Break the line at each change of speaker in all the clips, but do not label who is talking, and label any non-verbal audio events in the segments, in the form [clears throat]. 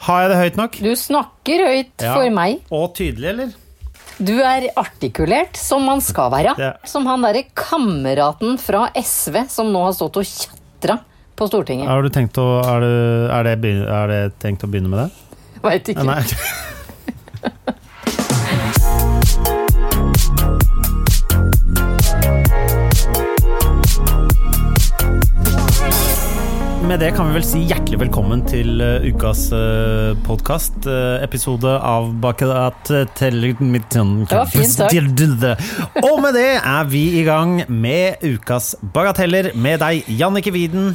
Har jeg det høyt nok?
Du snakker høyt
Ja.
for meg.
Og tydelig, eller?
Du er artikulert, som man skal være.
Det-
Som han derre kameraten fra SV som nå har stått og tjatra på Stortinget.
Har du tenkt å, er, det, er, det, begy- er det tenkt å begynne med det?
Vet ikke.
Nei. Med det kan vi vel si hjertelig velkommen til eh, ukas uh, podkast. episode av Bakedat til
Det var fint, takk.
Og med det er vi i gang med ukas bagateller med deg, Jannike Widen.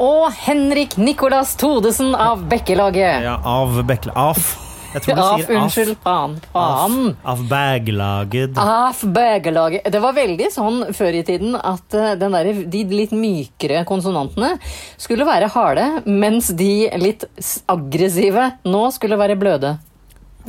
Og Henrik Nicolas Thodesen av Bekkelaget.
Ja, av Bekkel... Af. Jeg tror du
Av,
sier af.
unnskyld, faen. Faen.
Av baglaget.
Av Bekkelaget. Det var veldig sånn før i tiden at eh, den der, de litt mykere konsonantene skulle være harde, mens de litt s- aggressive nå skulle være bløde.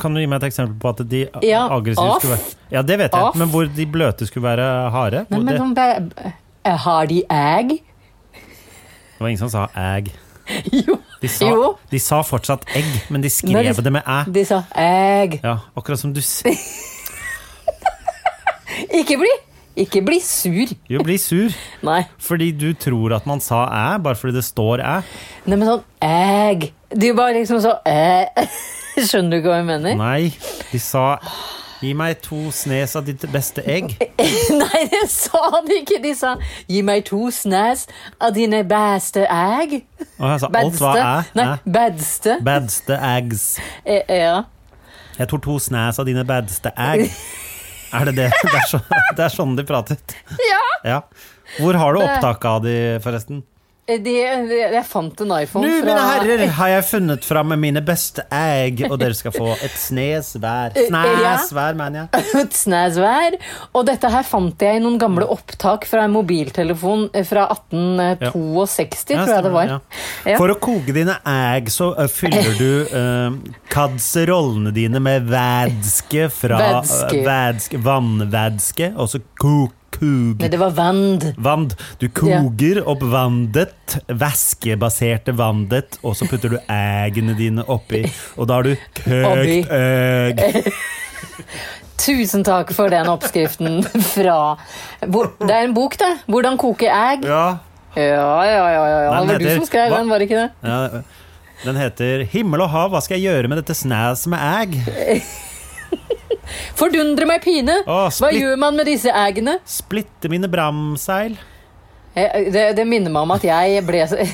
Kan du gi meg et eksempel på at de
Ja,
aggressive
af.
skulle være Ja, det vet jeg,
Af.
men hvor de bløte skulle være harde?
Nei,
Hvor
men
det,
sånn be, eh, Har de egg?
det var ingen som sa egg.
[laughs] Jo.
De sa,
Jo.
de sa fortsatt egg, men de skrev
Nei, de-
det med æ.
De sa egg.
Ja, akkurat som du s-
Ikke bli, ikke bli sur.
Jo, blir sur.
Nei.
Fordi du tror at man sa æ, bare fordi det står æ.
Nei, men sånn egg. De bare liksom så eh. [laughs] Skjønner du ikke hva jeg mener?
Nei, de sa Gi meg to snes av ditt beste egg.
[laughs] Nei, det sa de ikke. De sa 'gi meg to snes av dine beste egg'.
Og jeg sa alt var æ.
Nei,
æ.
badste.
Badste eggs.
Eh, ja.
Jeg tror to snes av dine badste egg. Er det det? Det er, så, det er sånn de pratet.
ja.
Ja. Hvor har du opptak av de, forresten?
Eh, De, de, jeg fant en iPhone
Nå,
fra
mine herrer, har jeg funnet fram mine beste egg, og dere skal få et snes hver. Snes hver, mener jeg.
et snes hver. Og dette her fant jeg i noen gamle opptak fra en mobiltelefon eh, fra 1862,
Ja,
tror jeg det
stemmer,
var.
ja.
Ja.
For å koke dine egg, så ø, fyller du uh, kadserollene dine med vædske fra ø,
Vædske.
vædske, vannvædske, og så kok, kug...
Nei, det var Vand.
Vand. Du koger opp vandet, væskebaserte vandet, og så putter du eggene dine oppi. Og da har du
Oppi.
køkt egg.
Tusen takk for den oppskriften [laughs] fra hvor, Det er en bok, det. 'Hvordan koke egg'. Ja,
Ja.
ja, ja. ja, ja.
Den
Det var du
heter-
som skrev
hva-
den, var det ikke det?
ja. Den heter 'Himmel og hav, hva skal jeg gjøre med dette snæs med egg?'
Fordundre meg pine!
Å,
Hva
splitt-
gjør man med disse eggene?
Splitte mine bramseil.
Eh, Det, det minner meg om at jeg ble så-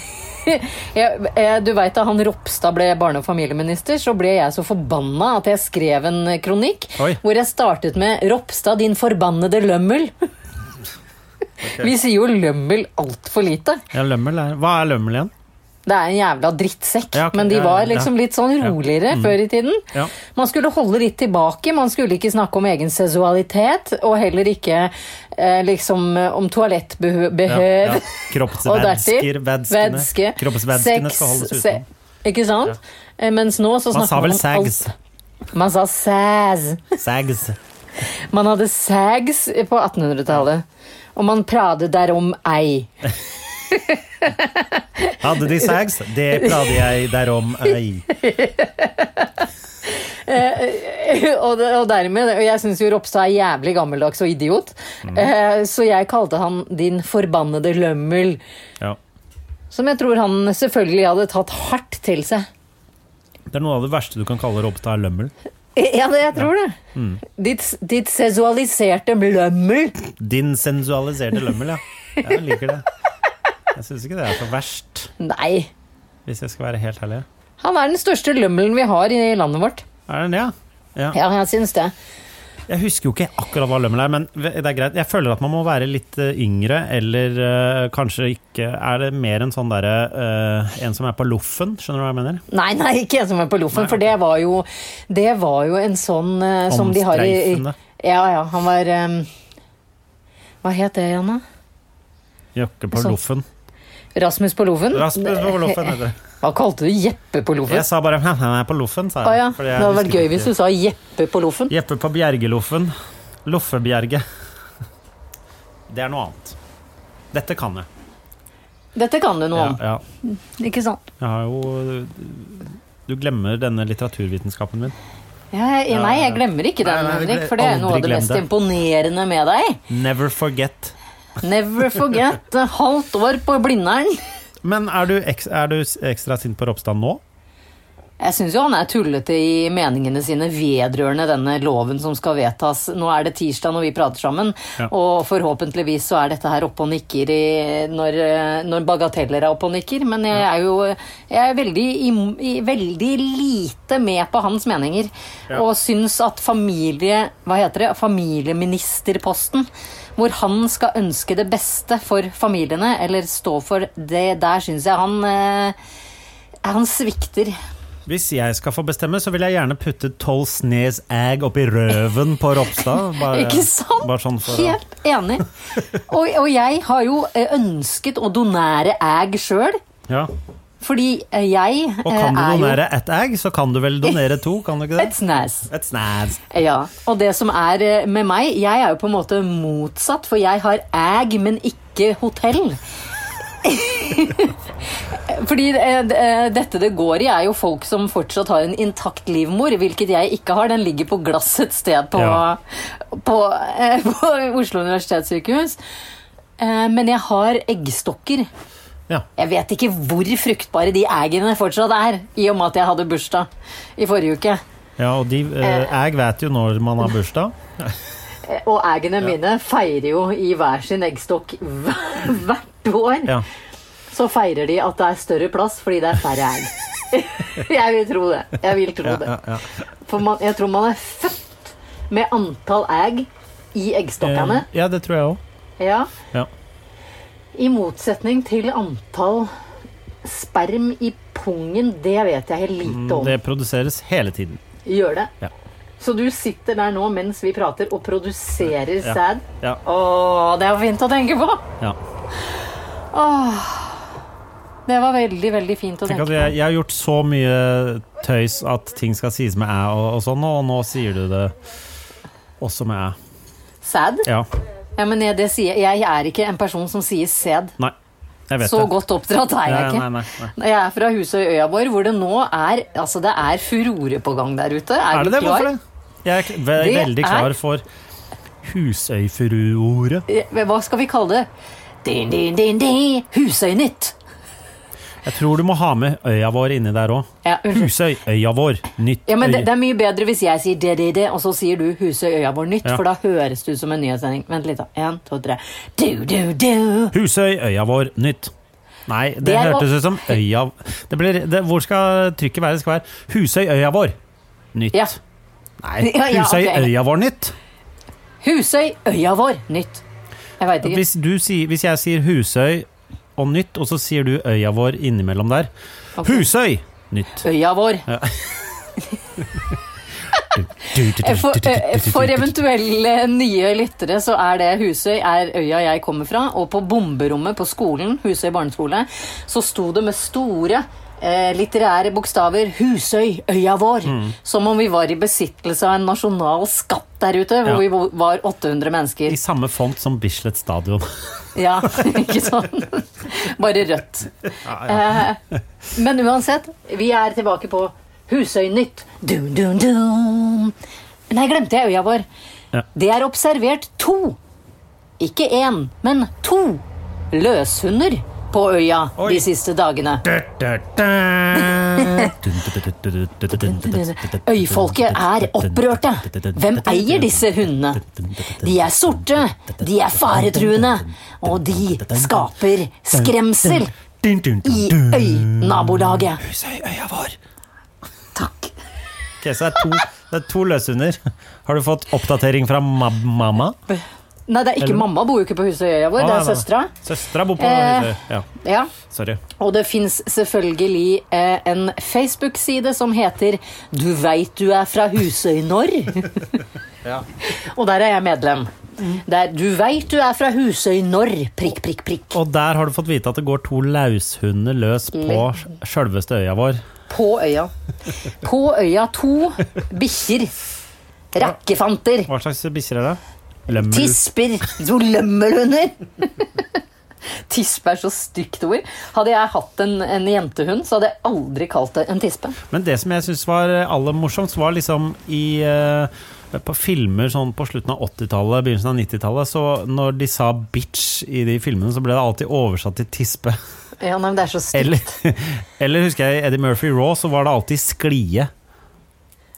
[laughs] jeg, eh, Du veit da han Ropstad ble barne- og familieminister, så ble jeg så forbanna at jeg skrev en eh, kronikk
Oi.
hvor jeg startet med 'Ropstad, din forbannede lømmel'. [laughs] Vi sier jo lømmel altfor lite.
Ja, lømmel er Hva er lømmel igjen?
Det er en jævla drittsekk,
Ja, ok,
men de
ja,
var
ja, ja.
liksom litt sånn
Ja. Mm.
roligere før i tiden.
Ja.
Man skulle holde litt tilbake, man skulle ikke snakke om egen seksualitet, og heller ikke eh, liksom eh, om toalettbehøv.
Ja,
[laughs]
ja. Kroppsvædsker.
vædske,
Vædskene. Kroppsvædskene skal holdes
sex,
uten.
se- Ikke sant? Eh, Mens nå så
Man sa
snakker
vel
man om alt.
sags.
Man sa sags.
Sags.
Man hadde sags på 1800-tallet. Og man pratet derom ei. [laughs]
Hadde de sags? Det prater jeg derom ei.
[laughs] og, det- og dermed, og jeg syns jo Ropstad er jævlig gammeldags og idiot,
Mm.
eh, så jeg kalte han din forbannede lømmel.
Ja.
Som jeg tror han selvfølgelig hadde tatt hardt til seg. [laughs]
Det er noe av det verste du kan kalle Robstad, er lømmel.
Ja, det, jeg tror det.
Mm.
Ditt, ditt sensualiserte lømmel.
Din sensualiserte lømmel, ja. Jeg liker det. Jeg syns ikke det er så verst,
Nei.
hvis jeg skal være helt ærlig.
Han er den største lømmelen vi har i landet vårt.
Er den det? Ja. ja.
Ja, jeg syns det.
Jeg husker jo ikke akkurat hva lømmel er, men det er greit. Jeg føler at man må være litt eh, yngre, eller eh, kanskje ikke Er det mer en sånn derre eh, En som er på loffen, skjønner du hva jeg mener?
Nei, nei, ikke en som er på loffen, for det var jo, det var jo en sånn eh, som de har i i-
Omstreifende.
Ja, ja, han var eh, Hva het det igjen, da?
Jokke på
Sånn.
loffen.
Rasmus på loffen?
Rasmus på loffen heter det.
Hva kalte du Jeppe på loffen?
Jeg sa bare [laughs] 'han er på loffen', sa
Å
jeg.
ja.
fordi
Det
jeg
hadde vært
husker
gøy
ikke.
hvis du sa Jeppe på loffen.
Jeppe på Bjergeloffen. Loffebjerge. Det er noe annet. Dette kan jeg.
Dette kan du noe
Ja,
om,
ja.
ikke sant?
Jeg har jo Du glemmer denne litteraturvitenskapen min.
Ja, jeg, nei, jeg glemmer ikke
Nei,
den,
nei, vi
Henrik,
gle-
for det er
aldri
noe av det
glem
mest
det.
imponerende med deg.
Never forget.
Never forget eh, halvt år på Blindern.
Men er du, eks- er du s- ekstra sint på Ropstad nå?
Jeg syns jo han er tullete i meningene sine vedrørende denne loven som skal vedtas. Nå er det tirsdag når vi prater sammen,
Ja.
og forhåpentligvis så er dette her oppe og nikker i, når, eh, når bagateller er oppe og nikker, men jeg er jo jeg er veldig, im- i, veldig lite med på hans meninger.
Ja.
Og syns at familie... Hva heter det? Familieministerposten. Hvor han skal ønske det beste for familiene, eller stå for det. Der syns jeg han eh, han svikter
Hvis jeg skal få bestemme, så vil jeg gjerne putte tolv snes egg oppi røven på
[laughs]
Ropstad. Bare,
Ikke sant?
Eh, Bare sånn for å
Helt enig. Og, og jeg har jo eh, ønsket å donere egg sjøl,
ja.
fordi eh, jeg
Og kan du donere ett egg, så kan du vel donere to, kan du ikke
Et
det?
snas.
Et snes.
Ja. Og det som er eh, med meg, jeg er jo på en måte motsatt, for jeg har egg, men ikke hotell. [laughs] Fordi eh, d- eh, dette det går i, er jo folk som fortsatt har en intakt livmor, hvilket jeg ikke har. Den ligger på glass et sted på,
Ja.
på, eh, [laughs] på Oslo universitetssykehus. Eh, Men jeg har eggstokker.
Ja.
Jeg vet ikke hvor fruktbare de eggene fortsatt er, i og med at jeg hadde bursdag i forrige uke.
ja, og de eh, egg vet jo når man har
[laughs]
bursdag.
Eh, Og eggene mine feirer jo i hver sin eggstokk hver- [laughs] hvert år.
Ja.
Så feirer de at det er større plass fordi det er færre egg. [laughs] jeg vil tro det. Jeg vil tro det.
Ja, ja.
For man, jeg tror man er født med antall egg i eggstokkene.
Eh, ja, det tror jeg òg.
Ja.
Ja.
I motsetning til antall sperm i pungen. Det vet jeg helt lite om.
Mm, Det produseres hele tiden.
Gjør det.
Ja.
Så du sitter der nå mens vi prater og produserer
Ja.
sæd.
Ja.
Å, det er fint å tenke på!
ja.
Det var veldig, veldig fint å
Tenk
tenke
at
på.
jeg, jeg har gjort så mye tøys at ting skal sies med æ og, og sånn, og nå sier du det også med æ.
Sæd?
Ja.
Ja, men jeg, det sier, jeg er ikke en person som sier sæd.
Nei. Jeg vet
Så
det.
godt oppdratt er jeg
Nei,
ikke.
nei, nei, nei.
Jeg er fra Husøyøya vår, hvor det nå er altså det er furore på gang der ute. Er,
Er
du
det det?
klar?
Hvorfor det? Jeg er ve
Det
veldig
er-
klar for Husøyfurordet.
Eh, Hva skal vi kalle det? Din, din, din, din. Husøynytt!
Jeg tror du må ha med øya vår inni der òg.
Ja, unnskyld.
Husøy, øya vår, nytt
Ja, men det,
øy.
det er mye bedre hvis jeg sier det, det, det, og så sier du Husøyøya vår nytt,
Ja.
for da høres det ut som en nyhetssending. Vent litt, da. En, to, tre. Du, du, du.
Husøy, øya vår, nytt. Nei, det,
Det er å-
hørtes ut som øya det blir, det, Hvor skal trykket være? Det skal være Husøy, øya vår, nytt.
Ja.
Nei,
Ja, ja,
Husøy,
ok.
øya vår, nytt.
Husøyøya vår nytt. Jeg veit ikke.
Hvis, du sier, hvis jeg sier Husøy og nytt, og så sier du øya vår innimellom der
Ok.
Husøy! Nytt.
Øya vår. For, eh, for eventuelle nye lyttere så er det Husøy er øya jeg kommer fra, og på bomberommet på skolen, Husøy barneskole, så sto det med store eh, litterære bokstaver 'Husøy, øya vår', som om vi var i besittelse av en nasjonal skatt der ute, hvor
Ja.
vi vo- var 800
I
mennesker.
samme font som Bislett Stadion.
Ja, [laughs] ikke sånn. Bare rødt. Eh, men uansett, vi er tilbake på Husøynytt. Dun, dun, dun. Nei, glemte jeg øya vår.
Ja.
Det er observert to, ikke én, men to løshunder på øya
Oi.
de siste dagene. Øyfolket er opprørte. Hvem eier disse hundene? De er sorte, de er faretruende, og de skaper skremsel i øynabolaget.
Husøy, øya vår.
Takk.
Ok, så det er to, det er to løshunder, Har du fått oppdatering fra mab mamma? Ah,
Nei, det er ikke
Eller-
mamma bor jo ikke på Husøyøya
Å,
vår, det
nei,
er
nei, nei.
søstera.
Søstera bor på
Eh.
Ja,
Ja.
sorry.
Og det fins selvfølgelig eh, en Facebook-side som heter 'Du veit du er fra Husøy når'. Og der er jeg medlem. Det er 'Du veit du er fra Husøy når'. Prikk, prikk, prikk.
Og der har du fått vite at det går to laushunder løs på sjølveste øya vår.
På øya. På øya to bikkjer. Rakkefanter.
Hva slags bikkjer er det? Lømmel.
Tisper. To lømmelhunder. [laughs] Tispe er så stygt ord. Hadde jeg hatt en, en jentehund, så hadde jeg aldri kalt det en tispe.
Men det som jeg syns var eh, aller morsomst, var liksom i eh, På filmer sånn på slutten av 80-tallet, begynnelsen av 90-tallet, så når de sa 'bitch' i de filmene, så ble det alltid oversatt til 'tispe'. [laughs]
Ja, nei, men det er så stygt.
Eller, eller husker jeg i Eddie Murphy Raw, så var det alltid 'sklie'.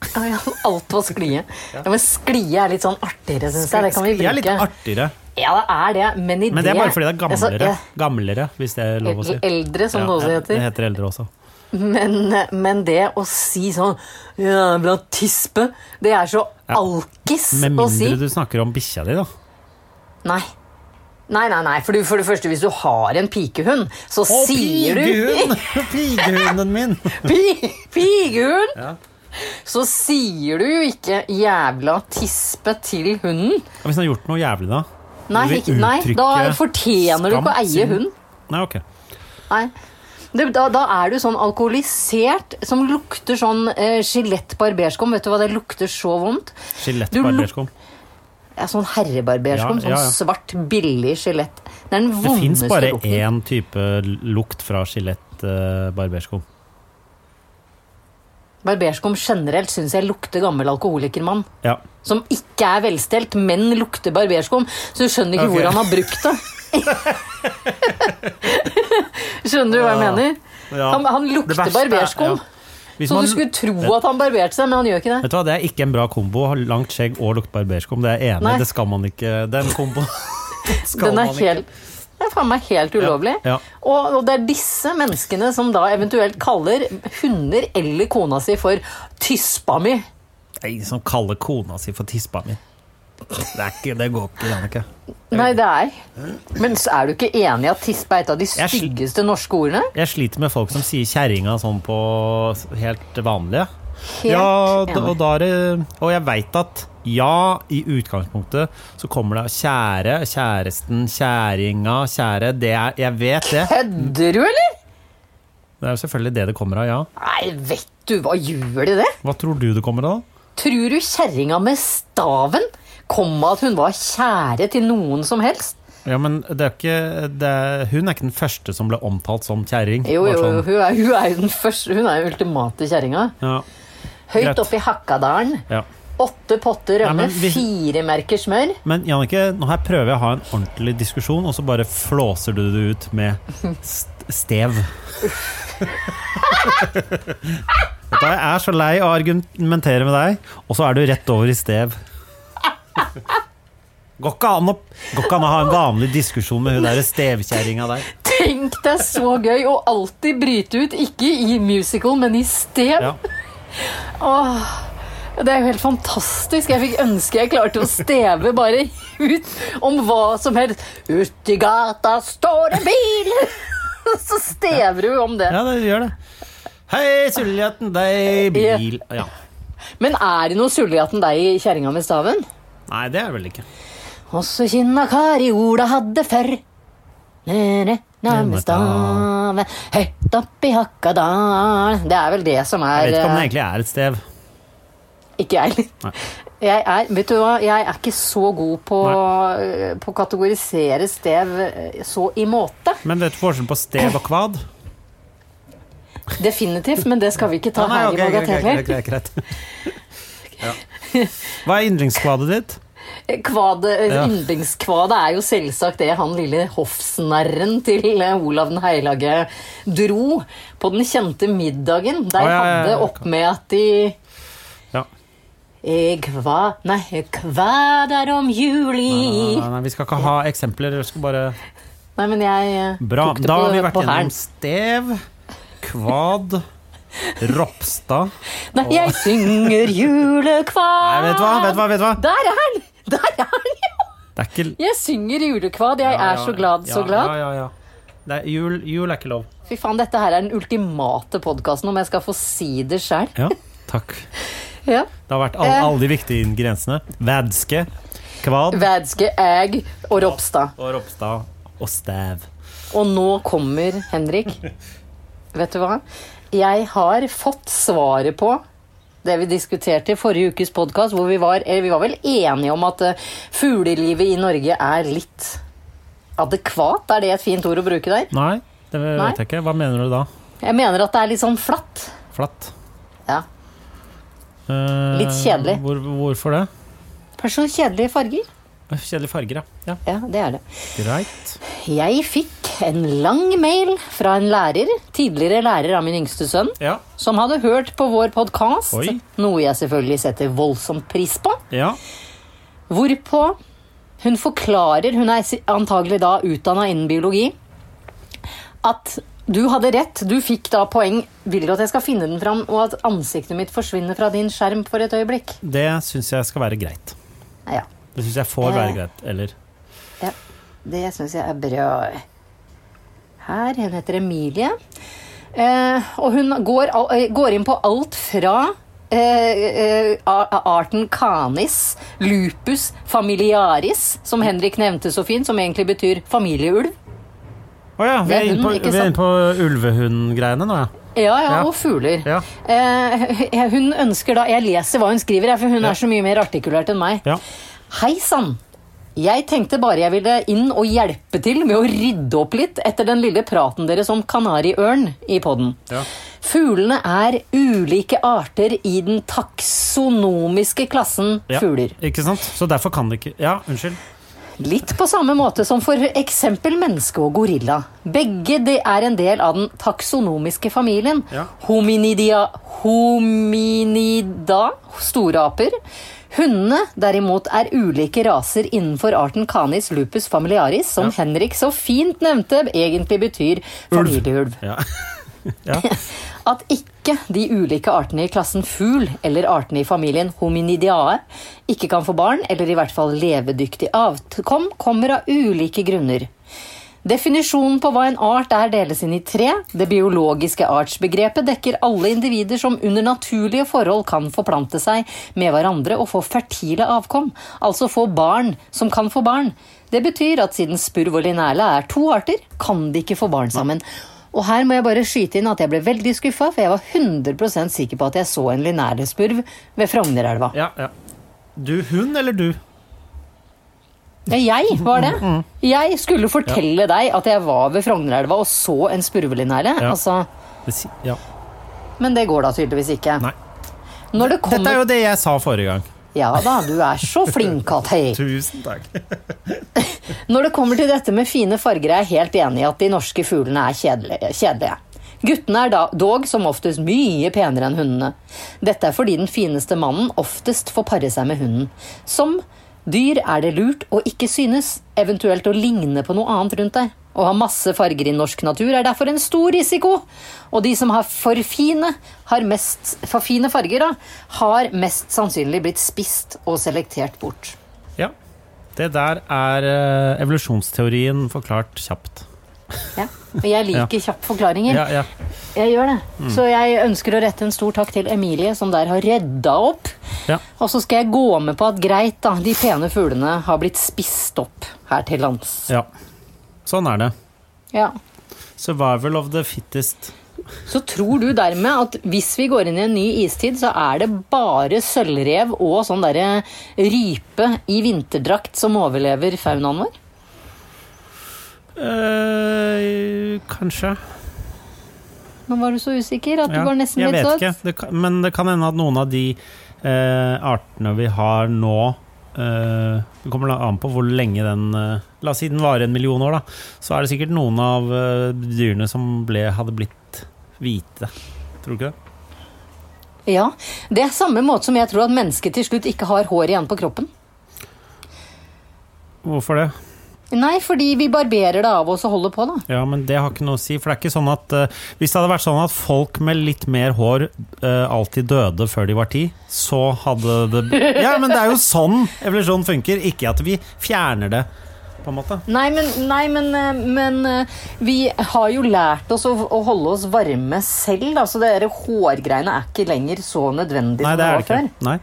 [laughs] Ja, ja, alt var sklie. Ja, men sklie er litt sånn artigere, syns jeg. Det kan vi
Sklie er litt
bruke.
artigere,
Ja, det er det, men i
men det er bare fordi det er
altså,
gamlere. Gamlere, hvis det er lov å si.
eh, Eldre, som
Ja,
det også
ja,
heter.
Det heter eldre også.
Men, men det å si sånn Jævla tispe! Det er så
Ja.
alkis
Med
å si.
mindre du snakker om bikkja di, da.
Nei. Nei, nei, nei. For, du, for det første, hvis du har en pikehund, så sier du
[laughs] Pigehunden min!
[laughs] Pi- Pigehund!
Ja.
Så sier du jo ikke 'jævla tispe' til hunden.
Hvis han har gjort noe jævlig, da?
Nei,
Vil
ikke, nei da
uttrykke
fortjener du ikke å
skam
eie
sin-
hund.
Nei, ok.
Nei. Du, da, da er du sånn alkoholisert som lukter sånn eh, skjelett barberskum. Vet du hva det lukter så vondt?
Skjelett
Du luk-
barberskum.
Ja, sånn herrebarberskum.
Ja, ja, ja.
Sånn svart, billig skjelett. Det er den
Det fins
vondeste
bare
lukten.
én type lukt fra skjelett eh, barberskum.
Barberskum generelt syns jeg lukter gammel alkoholikermann.
Ja.
Som ikke er velstelt, men lukter barberskum. Så du skjønner ikke
Ok.
hvor han har brukt det.
[laughs]
skjønner du hva
Ja.
jeg mener? Han, han lukter barberskum.
Hvis
Så
man,
du skulle tro at han barberte seg, men han gjør ikke det.
Vet du hva, Det er ikke en bra kombo. Ha Langt skjegg og lukt barberskum. Det er jeg enig.
Nei.
i. Det skal man ikke. Den komboen skal
Den er
man ikke.
helt det er faen meg helt [laughs] ulovlig.
ja.
Og, og det er disse menneskene som da eventuelt kaller hunder eller kona si for 'tyspa mi'.
Det er ingen som kaller kona si for tispa mi. Det, er ikke, det går ikke, Jannicke.
Nei, det er Men så er du ikke enig i at tispe er et av de
Jeg sl-
styggeste norske ordene?
Jeg sliter med folk som sier kjerringa sånn på s- helt vanlige.
Helt
ja, d- og,
enig.
da er det, og jeg veit at ja, i utgangspunktet så kommer det kjære, kjæresten, kjæringa, kjære det er, Jeg vet det.
Kødder du, eller?
Det er jo selvfølgelig det det kommer av, ja.
Nei, vet du hva, gjør de det?
Hva tror du det kommer av?
Tror du kjerringa med staven kom av at hun var kjære til noen som helst?
Ja, men det er ikke, det er, Hun er ikke den første som ble omtalt som kjerring.
Jo,
Bare
jo,
sånn.
hun er, hun er jo den første. Hun er jo ultimate kjerringa.
Ja, Greit.
Høyt oppe i Hakkadalen.
ja.
Åtte potter
Nei,
rømme,
men vi-
fire merker smør.
Men Jannicke, nå her prøver jeg å ha en ordentlig diskusjon, og så bare flåser du det ut med st stev. [laughs] Vet du hva, Jeg er så lei av å argumentere med deg, og så er du rett over i stev. Går ikke an å, går ikke an å ha en vanlig diskusjon med hun der stevkjerringa der.
Tenk, det er så gøy å alltid bryte ut, ikke i musical, men i stev.
Ja.
Åh, det er jo helt fantastisk. Jeg fikk ønske jeg klarte å steve bare ut om hva som helst. Ut i gata står det bil! [laughs] Så stever du om det.
ja, det gjør det. Hei, suljaten deg, bil Ja.
Men er det noe sulligatten deg i kjerringa med staven?
Nei, det er det vel ikke.
Også kinna Kari Ola hadde før. Nede nærme staven, høyt oppi Hakkadal Det er vel det som
Jeg
er
vet ikke om det
eh,
egentlig er et stev.
Ikke jeg heller.
Nei.
Jeg er, vet du hva, jeg er ikke så god på, eh, på å kategorisere stev eh, så i måte.
Men vet du forskjellen på stev og kvad?
Definitivt, men det skal vi ikke ta
Ja, nei,
her
ok,
i Bagateller.
greit, greit, greit, greit. Hva er yndlingskvadet ditt?
Kvade,
Ja.
Yndlingskvadet er jo selvsagt det han lille hoffsnarren til eh, Olav den hellige dro på den kjente middagen. Der
Å, ja, ja, ja.
hadde opp med at de
Ja.
eh, Kva... Nei, kvader om juli.
Nei, nei, vi skal ikke ha eksempler. Jeg skal bare...
Nei, men jeg eh,
Bra.
tok det
Da har vi
på,
vært
på hælen.
gjennom stev, kvad Ropstad.
Nei, jeg
[laughs]
synger
Nei,
julekvad.
vet du hva? Vet du hva? Vet du hva?
Der er han! Der er han, jo!
Det er ikke
Jeg synger julekvad. Jeg
Ja,
er
ja,
så glad,
ja,
så glad.
Ja, ja, ja. Det er, jul, jul er ikke lov.
Fy faen, dette her er den ultimate podkasten, om jeg skal få si det sjøl.
Ja, takk.
Ja.
Det har vært alle,
Eh.
alle de viktige ingrediensene. Vædske, kvad
Vædske, æg og Ropstad.
og Ropstad og stæv.
Og nå kommer Henrik. Vet du hva? Jeg har fått svaret på det vi diskuterte i forrige ukes podkast, hvor vi var, eh, vi var vel enige om at eh, fuglelivet i Norge er litt adekvat. Er det et fint ord å bruke der?
Nei, det vet
Nei.
jeg ikke. Hva mener du da?
Jeg mener at det er litt sånn flatt.
Flatt?
Ja.
Eh,
Litt kjedelig.
Hvor, hvorfor det?
Kanskje noen kjedelige farger?
Kjedelige farger, ja. ja.
Ja, det er det.
Greit.
Jeg fikk en lang mail fra en lærer, tidligere lærer av min yngste sønn,
Ja.
som hadde hørt på vår podkast,
Oi.
noe jeg selvfølgelig setter voldsomt pris på,
ja.
hvorpå hun forklarer, hun er si- antagelig da utdanna innen biologi, at du hadde rett, du fikk da poeng, vil du at jeg skal finne den fram, og at ansiktet mitt forsvinner fra din skjerm for et øyeblikk?
Det syns jeg skal være greit.
Ja,
Det syns jeg får
Eh.
være greit. Eller
Ja, det syns jeg er bra. Her, Hun heter Emilie. Eh, og hun går, al- eh, går inn på alt fra eh, eh, a- arten canis, lupus familiaris, som Henrik nevnte så fint, som egentlig betyr familieulv.
Å ja, vi
Det er
er inne på,
hund, ikke
vi er
sant?
inne på ulvehundgreiene nå, ja.
Ja, ja,
Ja.
og fugler.
Ja.
Eh, [laughs] hun ønsker da Jeg leser hva hun skriver, jeg, for hun
Ja.
er så mye mer artikulert enn meg.
Ja.
Hei sann! Jeg tenkte bare jeg ville inn og hjelpe til med å rydde opp litt etter den lille praten deres om kanariørn i podden.
Ja.
Fuglene er ulike arter i den taksonomiske klassen
ja.
fugler.
Ikke sant? Så derfor kan det ikke Ja, unnskyld.
Litt på samme måte som for eksempel menneske og gorilla. Begge de er en del av den taksonomiske familien.
Ja.
Hominidia, hominida, store aper. Hundene derimot er ulike raser innenfor arten canis lupus familiaris, som
Ja.
Henrik så fint nevnte egentlig betyr familieulv
Ja. [laughs] ja.
at ikke de ulike artene i klassen fugl eller artene i familien hominidiae ikke kan få barn, eller i hvert fall levedyktig avkom, kommer av ulike grunner. Definisjonen på hva en art er, deles inn i tre. Det biologiske artsbegrepet dekker alle individer som under naturlige forhold kan forplante seg med hverandre og få fertile avkom, altså få barn som kan få barn. Det betyr at siden spurv og linerle er to arter, kan de ikke få barn sammen. Og her må jeg bare skyte inn at jeg ble veldig skuffa, for jeg var 100 sikker på at jeg så en linerlespurv ved Frognerelva.
ja, ja. Du hun eller du?
Ja, jeg var det.
Mm,
Jeg skulle fortelle deg at jeg var ved Frognerelva og så en spurvelinerle.
Ja.
Altså,
Det si- Ja.
men det går da tydeligvis ikke.
Nei.
Når det
Dette er
kommer
jo det jeg sa forrige gang.
Ja da, du er så flink, Katei.
Tusen takk.
Når det kommer til dette med fine farger, er jeg helt enig i at de norske fuglene er kjedelige. kjedelige. Guttene er da, dog som oftest mye penere enn hundene. Dette er fordi den fineste mannen oftest får pare seg med hunden. Som dyr er det lurt å ikke synes, eventuelt å ligne på noe annet rundt deg. Å ha masse farger i norsk natur er derfor en stor risiko. Og de som har for fine, har mest, for fine farger, da, har mest sannsynlig blitt spist og selektert bort.
Ja. Det der er eh, evolusjonsteorien forklart kjapt.
Ja. Men jeg liker kjappe forklaringer.
Ja, ja.
Jeg gjør det.
Mm.
Så jeg ønsker å rette en stor takk til Emilie, som der har redda opp.
ja.
Og så skal jeg gå med på at greit, da, de pene fuglene har blitt spist opp her til lands.
ja. Sånn er det.
Ja.
Survival of the fittest.
Så tror du dermed at hvis vi går inn i en ny istid, så er det bare sølvrev og sånn derre rype i vinterdrakt som overlever faunaen vår?
eh kanskje.
Nå var du så usikker at du var nesten
jeg
litt
vet
sånn.
ikke. Det kan, men det kan hende at noen av de eh, artene vi har nå eh, Det kommer la- an på hvor lenge den eh, La oss si den varer en million år, da. Så er det sikkert noen av eh, dyrene som ble, hadde blitt hvite. Tror du ikke det?
Ja, Det er samme måte som jeg tror at mennesket til slutt ikke har hår igjen på kroppen.
Hvorfor det?
Nei, fordi vi barberer det av oss og holder på, da.
Ja, men det har ikke noe å si. For det er ikke sånn at eh, Hvis det hadde vært sånn at folk med litt mer hår eh, alltid døde før de var ti, så hadde det Ja, men det er jo sånn evolusjon funker, ikke at vi fjerner det, på en måte.
Nei, men, nei, men, eh, men eh, vi har jo lært oss å, å holde oss varme selv, da, så det der hårgreiene er ikke lenger så nødvendig
Nei,
som
det
det
er
var
det
før.
ikke. Nei.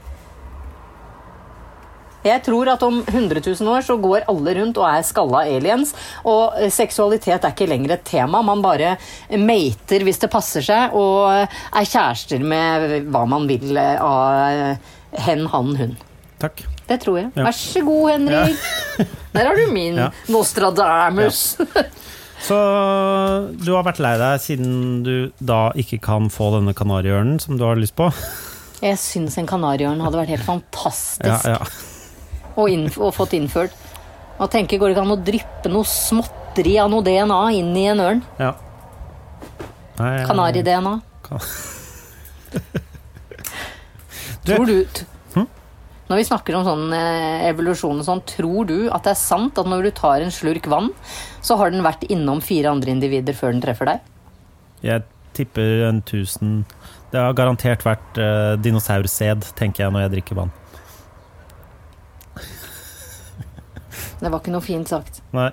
Jeg tror at om 100 000 år så går alle rundt og er skalla aliens, og eh, seksualitet er ikke lenger et tema. Man bare mater hvis det passer seg, og eh, er kjærester med hva man vil eh, av eh, hen, han, hun.
Takk.
Det tror jeg.
Ja.
Vær så god, Henrik. Der har du min
[laughs] Ja.
Nostradamus.
Så du har vært lei deg siden du da ikke kan få denne kanariørnen som du har lyst på?
Jeg syns en kanariørn hadde vært helt fantastisk
Ja, ja.
Og, innf og fått innført. Og tenker, går det ikke an å dryppe noe småtteri av noe DNA inn i en ørn?
ja. Nei, jeg-
Kanari-DNA.
Kan-
[laughs] Tror du t
Hm?
Når vi snakker om sånn eh, evolusjon og sånn, tror du at det er sant at når du tar en slurk vann, så har den vært innom fire andre individer før den treffer deg?
Jeg tipper en tusen Det har garantert vært uh, dinosaursæd, tenker jeg når jeg drikker vann.
Det var ikke noe fint sagt.
Nei.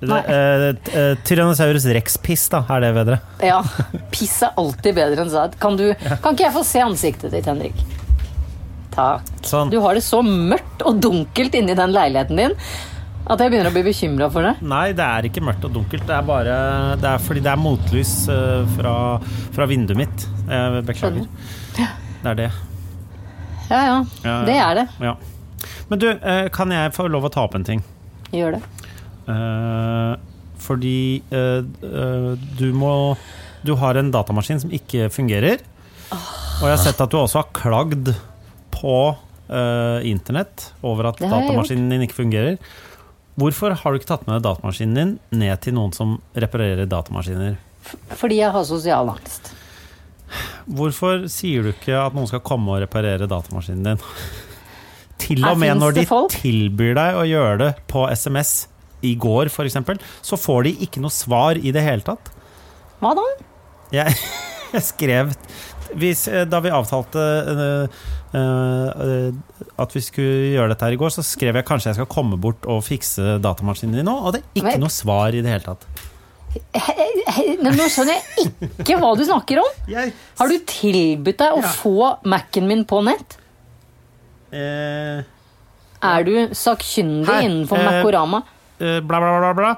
Det-
Nei.
eh, t- eh, Tyrannosaurus rex-piss, da, er det bedre?
Ja, piss er alltid bedre enn sæd. Kan, du- kan ikke jeg få se ansiktet ditt, Henrik? Takk.
Sånn.
Du har det så mørkt og dunkelt inni den leiligheten din at jeg begynner å bli bekymra for det.
Nei, det er ikke mørkt og dunkelt. Det er bare Det er fordi det er motlys eh, fra, fra vinduet mitt. Jeg beklager.
Skjønner.
Det er det.
Ja, ja.
Ja,
Det
ja.
er det.
Ja. Men du, eh, kan jeg få lov å ta opp en ting?
Gjør det.
Eh, Fordi eh, eh, du må Du har en datamaskin som ikke fungerer.
Ah.
Og jeg har sett at du også har klagd på eh, internett over at
Det har jeg
datamaskinen din ikke fungerer. Hvorfor har du ikke tatt med datamaskinen din ned til noen som reparerer datamaskiner?
Fordi jeg har sosial angst.
Hvorfor sier du ikke at noen skal komme og reparere datamaskinen din? [laughs] Til
Her
og med
finnes
når de
det folk.
tilbyr deg å gjøre det på SMS i går, f.eks., så får de ikke noe svar i det hele tatt. [laughs]
Hva da?
Jeg, jeg skrev hvis, eh, Da vi avtalte eh, eh, eh, at vi skulle gjøre dette her i går, så skrev jeg kanskje jeg skal komme bort og fikse datamaskinen din nå, og det er ikke
Men-
noe svar i det hele tatt.
Nei, men Nå skjønner jeg ikke hva du snakker om!
Jeg,
Har du tilbudt deg å
Ja.
få Mac-en min på nett?
eh,
Er du sakkyndig
Her,
innenfor
eh,
Macorama?
eh, bla, bla, bla, bla.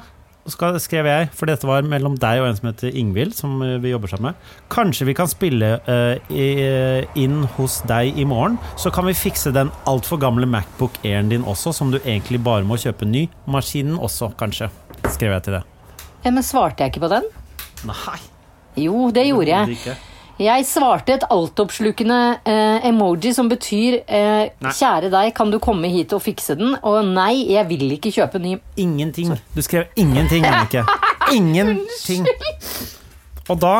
Så skal- skrev jeg, for dette var mellom deg og en som heter Ingvild, som eh, vi jobber sammen med. Kanskje vi kan spille eh, i, inn hos deg i morgen, så kan vi fikse den altfor gamle Macbook Airen din også, som du egentlig bare må kjøpe ny. Maskinen også, kanskje. Skrev jeg til det.
Ja, men svarte jeg ikke på den?
Nei,
Jo, det gjorde jeg.
ikke.
Jeg svarte et altoppslukende eh, emoji som betyr eh,
Nei.
'Kjære deg, kan du komme hit og fikse den?' Og 'Nei, jeg vil ikke kjøpe ny'.
Ingenting. Du skrev ingenting, Annike. Ingenting. Og da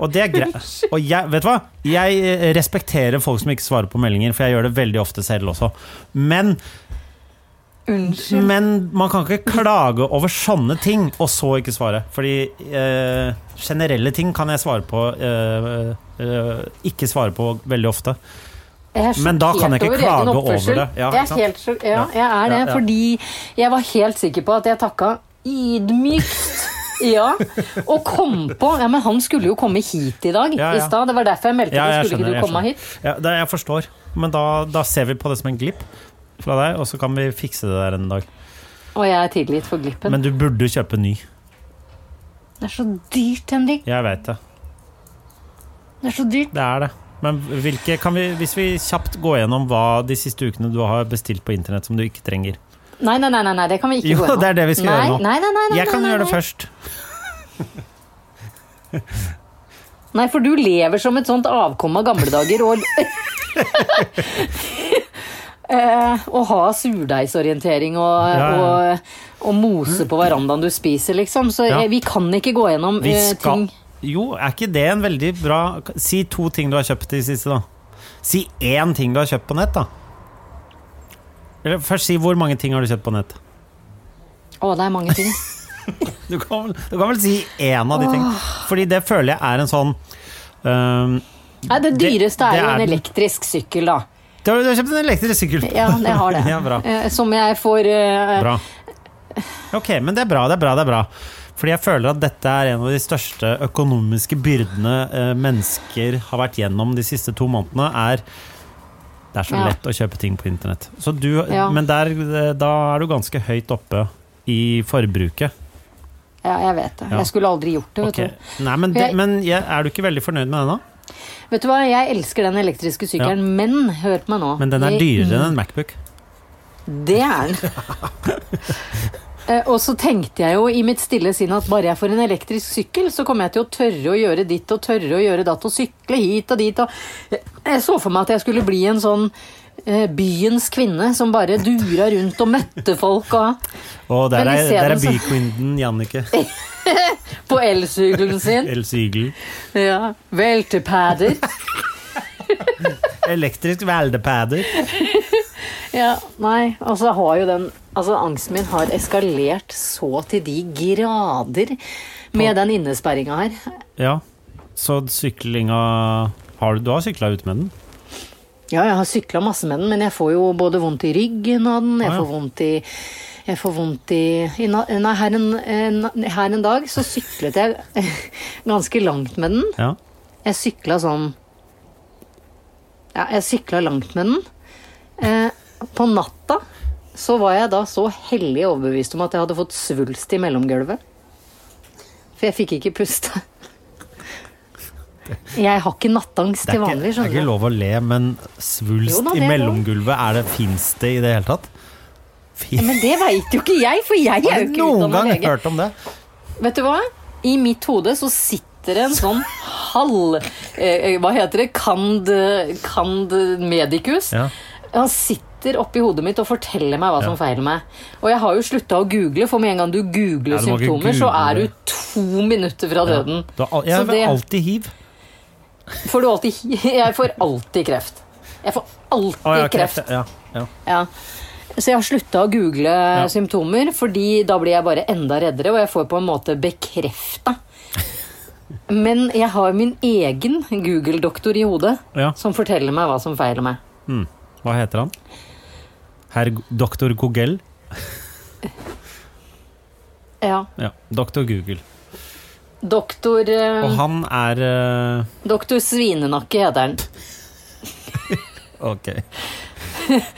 Og det er greit. Og jeg, vet du hva? Jeg eh, respekterer folk som ikke svarer på meldinger, for jeg gjør det veldig ofte selv også. Men,
Unnskyld.
men man kan ikke klage over sånne ting, og så ikke svare. Fordi eh, generelle ting kan jeg svare på eh, eh, Ikke svare på veldig ofte.
Jeg er
Men da kan jeg
sjokkert
ikke klage
egen
over
oppførsel.
det. Ja,
jeg,
ikke sant?
er helt, sjok- ja,
Ja.
jeg er det,
Ja, ja.
fordi jeg var helt sikker på at jeg takka
[laughs]
ydmykt. Ja, og kom på Ja, men han skulle jo komme hit i dag.
Ja, ja.
I stad. Det var derfor jeg meldte.
Ja,
Ja,
jeg
skulle
skjønner,
ikke
jeg
du
skjønner.
komme hit?
Ja, det, jeg forstår. Men da, da ser vi på det som en glipp fra deg, og så kan vi fikse det der en dag.
Og jeg er tilgitt for glippen.
Men du burde kjøpe ny.
det er så dyrt, Henrik.
Jeg vet det.
Det er så dyrt.
Det er det. Men hvilke, kan vi, hvis vi kjapt går gjennom hva de siste ukene du har bestilt på internett som du ikke trenger
Nei, nei, nei, nei, nei det kan vi ikke
Jo,
gå gjennom.
det er det vi skal
nei,
gjøre nå.
Nei, nei, nei, nei,
Jeg kan
nei, nei,
gjøre det
nei.
først.
Nei, for du lever som et sånt avkom av gamle
[laughs]
dager og Eh, Å ha surdeigsorientering og,
Ja, ja.
og, og mose på verandaen du spiser, liksom. Så
Ja.
eh, vi kan ikke gå gjennom
Vi
eh,
skal
ting.
Jo, er ikke det en veldig bra Si to ting du har kjøpt i det siste, da. Si én ting du har kjøpt på nett, da. Eller først si hvor mange ting har du kjøpt på nett.
Å, det er mange ting.
Du kan, vel- du kan vel si én av de tingene. Fordi det føler jeg er en sånn ehm, øhm,
Nei, det
Det-
dyreste
det
er jo
er
en
den.
elektrisk sykkel, da.
Du har du har kjøpt en elektrisk sykkel!
Ja, jeg har det.
[laughs] Ja, bra.
Eh, Som jeg får eh,
Bra. Ok, men det er bra, det er bra, det er bra. Fordi jeg føler at dette er en av de største økonomiske byrdene eh, mennesker har vært gjennom de siste to månedene, er det er så
Ja.
lett å kjøpe ting på internett. Så du,
Ja.
Men der, eh, da er du ganske høyt oppe i forbruket.
Ja, jeg vet det.
Ja.
Jeg skulle aldri gjort det, vet
Ok. Nei, men, det,
Jeg-
men jeg, er du ikke veldig fornøyd med den, da?
du. Vet du hva, jeg elsker den elektriske sykkelen, men hør på meg nå.
Men den er
Jeg- Mm.
dyrere enn en Macbook.
Det er den. [laughs] Eh, Og så tenkte jeg jo i mitt stille sinn at bare jeg får en elektrisk sykkel, så kommer jeg til å tørre å gjøre ditt og tørre å gjøre datt og sykle hit og dit og Eh, Jeg så for meg at jeg skulle bli en sånn eh, byens kvinne som bare dura rundt og møtte folk og
Og der
Men
er, der
isteden
er
så-
byquinden Jannicke
[laughs] På elsykkelen sin.
Else Igel.
Ja. Veltepader.
Elektrisk veldepader.
Ja, nei, altså har jo den Altså angsten min har eskalert så til de grader med den innesperringa her.
Ja, så syklinga har du, du har sykla ut med den?
Ja, jeg har sykla masse med den, men jeg får jo både vondt i ryggen av den, jeg
Å, Ah, ja.
får vondt i jeg får vondt i, i na- Nei, her en, en, her en dag så syklet jeg [laughs] ganske langt med den.
Ja.
Jeg sykla sånn Ja, jeg sykla langt med den. Eh, på natta så var jeg da så hellig overbevist om at jeg hadde fått svulst i mellomgulvet. For jeg fikk ikke puste. Jeg har ikke nattangst
Det er,
til
ikke,
vanlig,
det er ikke
skjønner du.
lov å le, men svulst
Jo da,
i
det er lov.
mellomgulvet, er det, fins det i det hele tatt? Fy,
Men det veit jo ikke jeg, for jeg er
har
jo
du
ikke
noen
utdanna
gang
lege.
hørt om det?
Vet du hva? I mitt hode så sitter det en sånn halv eh, eh, Hva heter det? Cand, cand medicus.
Ja.
Han sitter oppi hodet mitt og forteller meg hva som feiler meg. Og jeg har jo slutta å google, for med en gang du googler
Ja, du må ikke
symptomer, så
google.
er du to minutter fra døden.
Du har, al-
Så
jeg har
det-
alltid hiv.
Får du alltid, [laughs] jeg får alltid kreft. Jeg får alltid
Å, ja,
kreft.
Ja, ja.
Ja. Så jeg har slutta å google symptomer, fordi da blir jeg bare enda reddere, og jeg får på en måte bekrefta. Men jeg har min egen Google-doktor i hodet
Ja.
som forteller meg hva som feiler meg.
Mm. Hva heter han? Herr doktor Gogel?
Ja.
Ja, doktor Google.
Doktor, eh,
Og han er eh,
doktor Svinenakke heter han. [laughs]
Ok.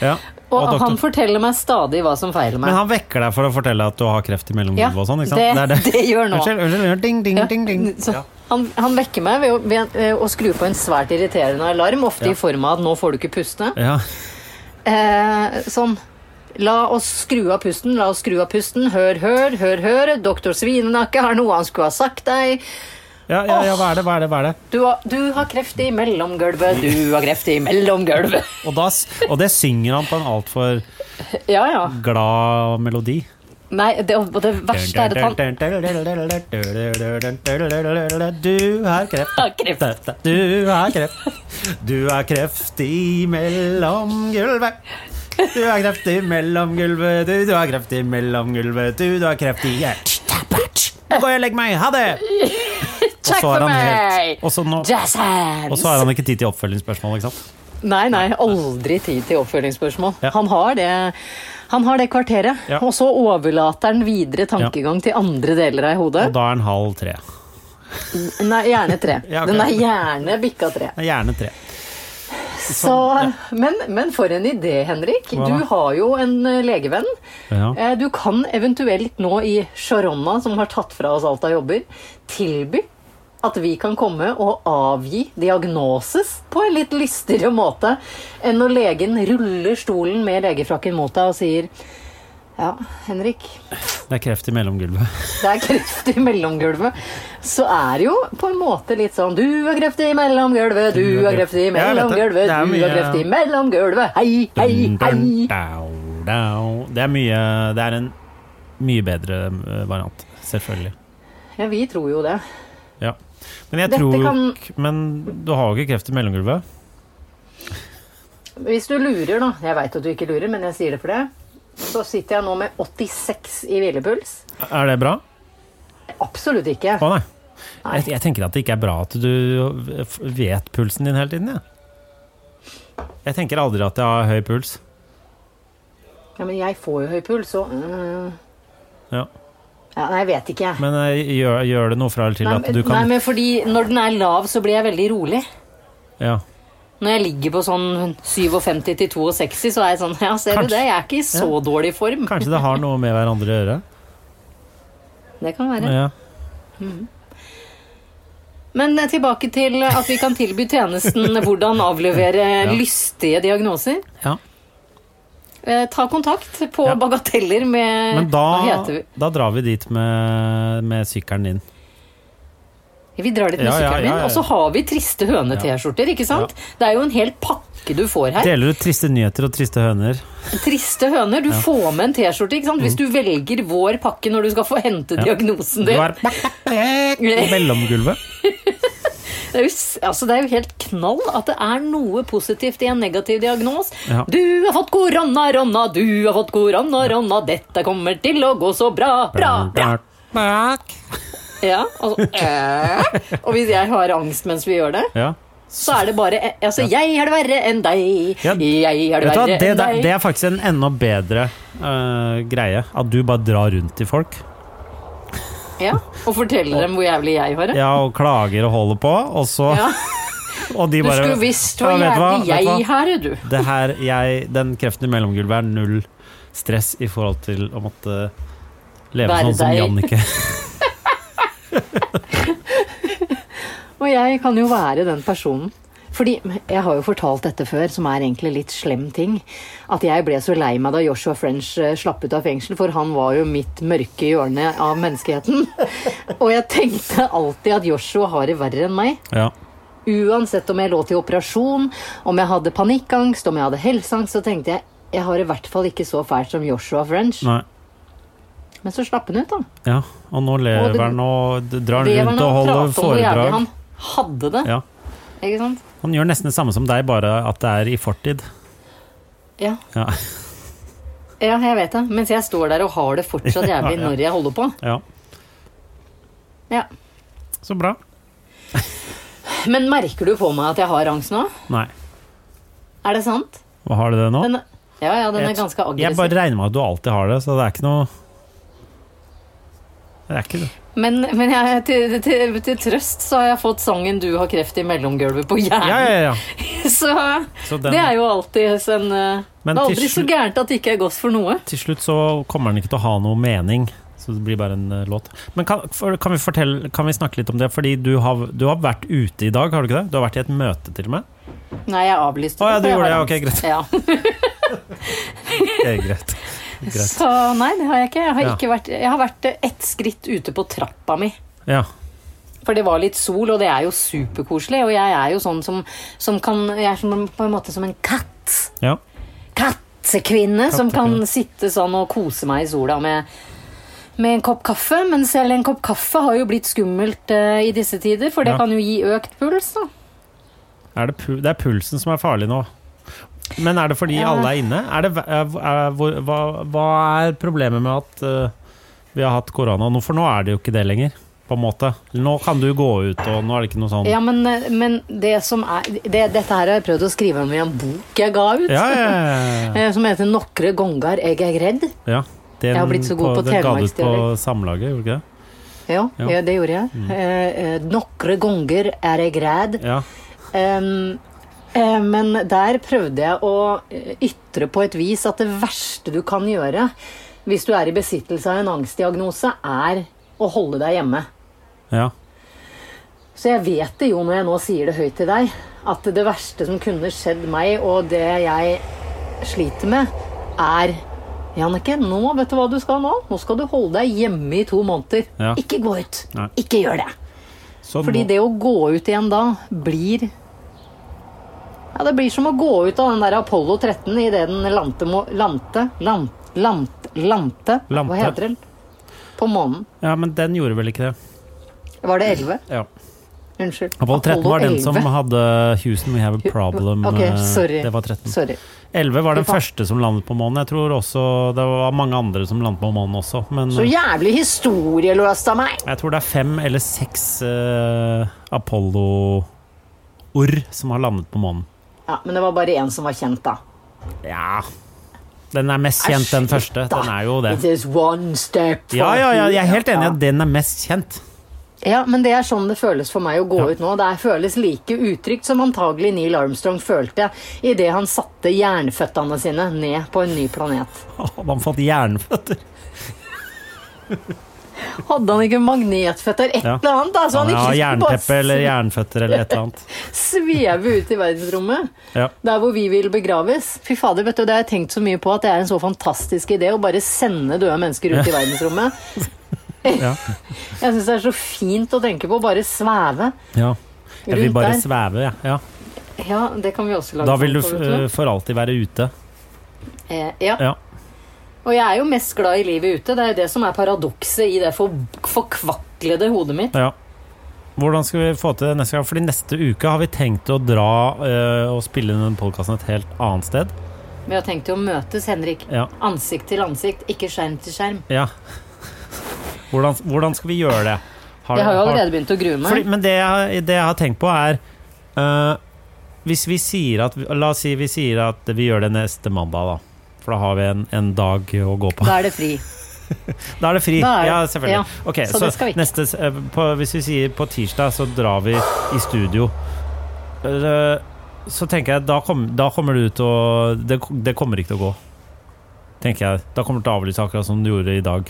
Ja.
Og,
Og doktor-
han forteller meg stadig hva som feiler meg.
Men han vekker deg for å fortelle at du har kreft i
Ja,
mellomgulvet og sånn? ikke sant?
det,
er
det. gjør nå.
Unnskyld, unnskyld, unnskyld. Ding, ding,
Ja.
ding, ding.
Så han, han vekker meg ved, å- ved, ved å skru på en svært irriterende alarm, ofte
Ja.
i form av at 'nå får du ikke puste'.
Ja.
Eh, sånn. La oss skru av pusten, la oss skru av pusten. Hør, hør, hør, hør. Doktor Svinenakke har noe han skulle ha sagt deg.
Ja, ja, ja, hva er det, hva er det, hva er det?
Du har, du har kreft i mellomgulvet, du har kreft i mellomgulvet. [laughs]
Og, da, s- og det synger han på en altfor
Ja, ja.
glad melodi.
Nei, det, og det verste er at han
Du har kreft.
har kreft.
Du har kreft. Du har kreft i mellomgulvet. Du har kreft i mellomgulvet, du, du har kreft i mellomgulvet, du, du har kreft i hjertet. Nå går jeg og legger meg. Ha det! Og
Takk
så er
for
han
meg!
helt- og så nå-
Jazz
Og
hands!
så har han ikke tid til oppfølgingsspørsmål, ikke sant?
Nei, nei, aldri tid til oppfølgingsspørsmål.
Ja.
Han, har det, han har det kvarteret.
Ja.
Og så overlater han videre tankegang til andre deler av hodet.
Og da er han halv tre.
Nei, gjerne tre.
Ja, ok.
Den er gjerne bikka tre.
Nei, Gjerne tre.
Så, men, men for en idé, Henrik.
Sånn, Hva da?
Du har jo en eh, legevenn.
Ja.
Eh, Du kan eventuelt nå i Sharonna, som har tatt fra oss alt av jobber, tilby at vi kan komme og avgi diagnoses på en litt lystigere måte enn når legen ruller stolen med legefrakken mot deg og sier ja, Henrik,
Det er kreft i mellomgulvet.
det er kreft i mellomgulvet. Så er det jo på en måte litt sånn Du har kreft i mellomgulvet, du har kreft i
Ja, jeg vet det. Det er
mellomgulvet, du
mye-
har kreft i mellomgulvet. Hei, hei,
Dun, dun,
hei.
dau, dau. Det er mye Det er en mye bedre eh, variant, selvfølgelig.
Ja, vi tror jo det.
Ja. Men jeg
Dette
tror jo
kan-
k- Men du har jo ikke kreft i mellomgulvet?
Hvis du lurer, da. Jeg veit at du ikke lurer, men jeg sier det for det. så sitter jeg nå med 86 i hvilepuls.
Er det bra?
Absolutt ikke.
Å nei. Jeg, jeg tenker at det ikke er bra at du f- vet pulsen din hele tiden. Jeg, jeg tenker aldri at jeg har høy puls.
Ja, men jeg får jo høy puls, og mm.
Ja.
ja, Nei, jeg vet ikke. jeg.
Men eh, gjør, gjør det noe fra eller til
Nei,
at du
men- nei,
kan
men fordi når den er lav, så blir jeg veldig rolig.
ja.
Når jeg ligger på sånn 57 til 62, så er jeg sånn Ja, ser
Kanskje-
du det, jeg er ikke i så
Ja.
dårlig form.
Kanskje det har noe med hverandre å gjøre?
Det kan være.
Ja.
Men eh, tilbake til at vi kan tilby
[laughs]
tjenesten hvordan avlevere
Ja.
lystige diagnoser.
ja.
Eh, ta kontakt på
Ja.
bagateller med
Men
Eh, Hva
da,
heter vi?
da drar vi dit med, med sykkelen din.
Vi drar litt
Ja, ja,
musikkeren min,
ja, ja.
og så har vi triste høne-T-skjorter, ikke sant? Det er jo en hel pakke du får her.
Deler ut triste nyheter og triste høner.
Triste høner. Du får med en T-skjorte, ikke sant?
Mm.
Hvis du velger vår pakke når du skal få hente diagnosen
Du
din.
er
[laughs]
på mellomgulvet.
Det er, jo, s- altså det er jo helt knall at det er noe positivt i en negativ diagnos.
Ja.
Du har fått korona, Ronna, du har fått korona, Ronna, dette kommer til å gå så bra, bra, bra. Ja,
[laughs]
altså, øh. Og hvis jeg har angst mens vi gjør det,
Ja.
så er det bare eh, Altså, jeg har det verre enn deg.
Ja.
Jeg har
Vet du
det
hva,
verre
det,
enn
der-
deg.
det er faktisk en enda bedre eh, greie. At du bare drar rundt til folk.
Ja, og forteller dem hvor jævlig jeg har det.
Ja, og klager og holder på, og så
Ja.
[laughs] Og de
Du
bare
skulle visst
Ja,
hvor
vet du hva?
jævlig
Vet du hva?
jeg har det, du.
Det her, jeg, den kreften i mellomgulvet er null stress i forhold til å måtte leve
Være
sånn som
deg.
Jannicke.
[laughs] Og jeg kan jo være den personen. Fordi Jeg har jo fortalt dette før, som er egentlig litt slem ting. At jeg ble så lei meg da Joshua French eh, slapp ut av fengsel, for han var jo mitt mørke hjørne av
[laughs]
menneskeheten. Og jeg tenkte alltid at Joshua har det verre enn meg.
Ja.
Uansett om jeg lå til operasjon, om jeg hadde panikkangst, om jeg hadde helseangst, så tenkte jeg jeg har i hvert fall ikke så fælt som Joshua French.
Nei.
Men så slapp han ut, da.
Ja, og nå
Og det-
lever han og d- drar
Det var
rundt
når
og
han
holder
pratet om hvor jævlig
foredrag.
han hadde det.
Ja.
Ikke sant?
Han gjør nesten det samme som deg, bare at det er i fortid.
Ja.
Ja. [laughs]
Ja, jeg vet det. Mens jeg står der og har det
[laughs]
fortsatt jævlig
Ja, ja.
når jeg holder på.
ja.
Ja.
Så bra.
Men merker du på meg at jeg har angst nå?
Nei.
Er det sant?
Hva har du det nå?
Den, ja, ja, den er
Jeg-
ganske
Jeg
aggressiv.
bare regner med at du alltid har det, så det er ikke noe Det er ikke det.
Men, men jeg, til, til, til trøst så har jeg fått sangen 'Du har kreft i mellomgulvet' på hjernen.
Ja, ja, ja.
[laughs] Så
Så den,
det er jo alltid en eh,
Men
Det
til
er aldri så
slu-
gærent at det ikke er godt for noe.
til slutt så kommer den ikke til å ha noe mening. Så det blir bare en eh, låt. Men kan, for, kan, vi fortelle, kan vi snakke litt om det? Fordi du har, du har vært ute i dag, har du ikke det? Du har vært i et møte, til og med?
Nei, jeg avlyste.
Å, ja,
det,
du
for jeg
gjorde
har
det,
angst.
Det er greit.
Ja.
[laughs] greit.
Så nei, det har jeg ikke. Jeg har,
Ja.
ikke vært, jeg har vært eh, ett skritt ute på trappa mi.
Ja.
For det var litt sol, og det er jo superkoselig. Og jeg er jo sånn som, som kan Jeg er som, på en måte som en katt.
ja.
Kattekvinne som kan
Kattekvinne.
sitte sånn og kose meg i sola med, med en kopp kaffe. Men selv en kopp kaffe har jo blitt skummelt eh, i disse tider, for det
Ja.
kan jo gi økt puls. Da.
Er det, pu det er pulsen som er farlig nå. Men er det fordi
Ja.
alle er inne? Er det, hva- er, hvor, hva, hva er problemet med at eh, vi har hatt korona nå? For nå er det jo ikke det lenger, på en måte. Nå kan du gå ut, og nå er det ikke noe sånn
Ja, men, eh, men det som er det, Dette her har jeg prøvd å skrive om i en bok jeg ga ut.
ja, ja, ja.
eh, Som heter 'Nokre gongar eg er redd'.
ja. Den,
Jeg har blitt så god på
den ga du ut på
telemarksdialekt.
Samlaget, gjorde du ikke det?
Ja,
Ja. Mm.
ja, det gjorde jeg. Eh, eh, 'Nokre gonger er eg redd'.
Ja.
Ehm, eh, men der prøvde jeg å eh, ytre på et vis at det verste du kan gjøre hvis du er i besittelse av en angstdiagnose, er å holde deg hjemme.
ja.
Så jeg vet det jo når jeg nå sier det høyt til deg, at det verste som kunne skjedd meg, og det jeg sliter med, er Jannicke, nå vet du hva du skal nå? Nå skal du holde deg hjemme i to måneder.
Ja.
Ikke gå ut.
Nei.
Ikke gjør det.
Så
Fordi
nå-
det å gå ut igjen da blir Ja, det blir som å gå ut av den der Apollo 13 idet den lante må Lante? Lant, lant, lante?
Lamte.
Hva heter den? På månen.
Ja, men den gjorde vel ikke det.
Var det 11?
Ja.
Ja.
Unnskyld.
Apollo 13 var den som
11.
hadde Houston We Have a Problem.
Ok,
eh,
sorry.
Det var 13.
Sorry.
11 var den
Fy faen.
første som landet på månen. Jeg tror også det var mange andre som landet på månen også. Men eh,
Så jævlig historieløst av meg!
jeg tror det er fem eller seks eh, Apollo-ord som har landet på månen.
Ja, Men det var bare én som var kjent, da.
Ja Den er mest kjent, den første. Den er jo det.
It is one step
Ja, ja, ja, jeg er helt enig i
Ja.
at den er mest kjent.
Ja, men det er sånn det føles for meg å gå ut nå. Det er- føles like utrygt som antagelig Neil Armstrong følte idet han satte jernføttene sine ned på en ny planet.
Hadde han fått jernføtter?
Hadde han ikke magnetføtter? Et
Ja.
eller annet, da! Så han
Ja,
ikke bare
jernteppe eller jernføtter eller et eller annet.
sveve ut i verdensrommet.
Ja.
Der hvor vi vil begraves. Fy fader, vet du, Det har jeg tenkt så mye på at det er en så fantastisk idé å bare sende døde mennesker ut i verdensrommet.
[laughs] Ja.
Jeg syns det er så fint å tenke på. Bare sveve.
Ja. Jeg vil
Rundt
bare
der.
sveve, jeg. Ja.
Ja, det kan vi også lage
Da vil du
sånn på, vet
eh, for alltid være ute.
Eh, ja.
Ja.
Og jeg er jo mest glad i livet ute. Det er jo det som er paradokset i det for forkvaklede hodet mitt.
Ja. Hvordan skal vi få til det neste gang? Fordi neste uke har vi tenkt å dra eh, og spille inn den podkasten et helt annet sted.
Vi har tenkt å møtes, Henrik.
Ja.
Ansikt til ansikt, ikke skjerm til skjerm.
ja. [laughs] Hvordan, hvordan skal vi gjøre det? Har-
Jeg har jo
har-
allerede begynt å grue meg.
Fordi, men det jeg, det jeg har tenkt på er eh, Hvis vi sier at La oss si vi sier at vi gjør det neste mandag da For da har vi en, en dag å gå på
Da er det fri.
Da er det fri,
da er det-
ja selvfølgelig
ja,
Ok,
så
så,
det skal vi ikke.
neste s- eh, på, Hvis vi sier på tirsdag så drar vi i studio Eh, Så tenker jeg Da, kom, da kommer det ut å det, det kommer ikke til å gå Tenker jeg Da kommer det til å avlyse akkurat som du gjorde i dag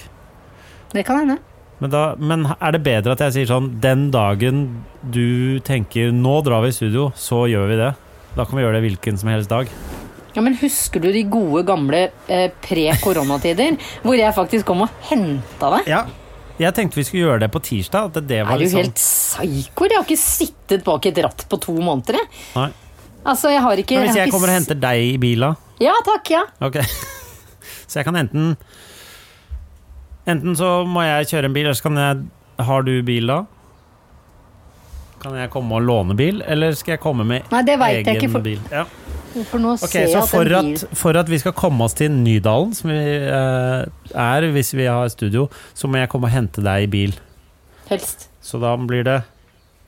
Det kan hende.
men, da, men er det bedre at jeg sier sånn Den dagen du tenker Nå drar vi i studio, så gjør vi det Da kan vi gjøre det hvilken som helst dag
Ja, men Husker du de gode, gamle eh, pre-koronatider? Hvor jeg faktisk kom og henta deg?
Ja Jeg tenkte vi skulle gjøre det på tirsdag At det, det var
Er du
liksom
helt psyko? Jeg har ikke sittet bak et ratt på to måneder. jeg.
Nei.
Altså, jeg har ikke
Men hvis
har
jeg
ikke
kommer og
s-
henter deg i bilen
Ja takk, ja.
Ok [laughs] Så jeg kan enten Enten så må jeg kjøre en bil Eller så kan jeg Har du bil da? Kan jeg komme og låne bil Eller skal jeg komme med
Nei, det vet jeg
egen
ikke, for-
bil? Ja
For nå
Ok,
ser jeg
så
at
for
en bil
at, for at vi skal komme oss til Nydalen, som vi eh, er hvis vi har studio, så må jeg komme og hente deg i bil.
Helst.
Så da blir det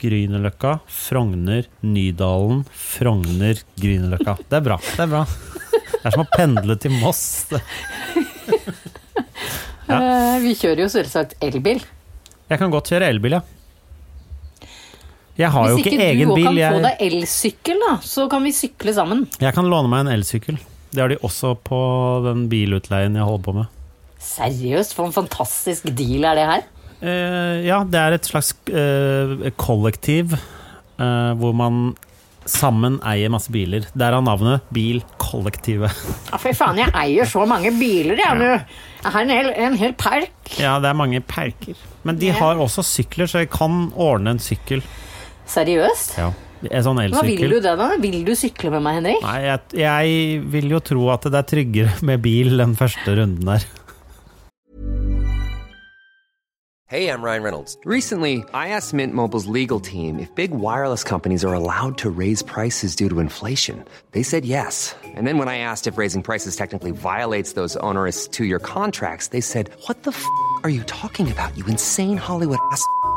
Grünerløkka, Frogner, Nydalen, Frogner, Grünerløkka. Det er bra. Det er bra. Det er som å pendle til Moss. Ja.
Eh, vi kjører jo selvsagt elbil.
Jeg kan godt kjøre elbil, ja. Jeg har jo
Hvis
ikke,
ikke du
egen
òg
bil.
kan få
Jeg,
deg elsykkel, da, så kan vi sykle sammen.
jeg kan låne meg en elsykkel. Det har de også på den bilutleien jeg holder på med.
Seriøst, for en fantastisk deal er det her.
Eh, ja, det er et slags eh, kollektiv eh, hvor man sammen eier masse biler. Der er navnet Bilkollektivet. [laughs]
Ja, Fy faen, jeg eier så mange biler, jeg nå. Jeg har en hel, en hel park.
ja, det er mange perker. Men de
Ja.
har også sykler, så jeg kan ordne en sykkel.
Seriøst?
En sånn
Hva vil
elsykkel.
du det, da? Vil du sykle med meg, Henrik?
Nei, jeg, jeg vil jo tro at det er tryggere med bil den første runden der.
Hey, I'm Ryan Reynolds. Recently, I asked Mint Mobile's legal team if big wireless companies are allowed to raise prices due to inflation. They said yes. And then when I asked if raising prices technically violates those onerous two year contracts, they said, What the f are you talking about, you insane Hollywood ass? f- a-"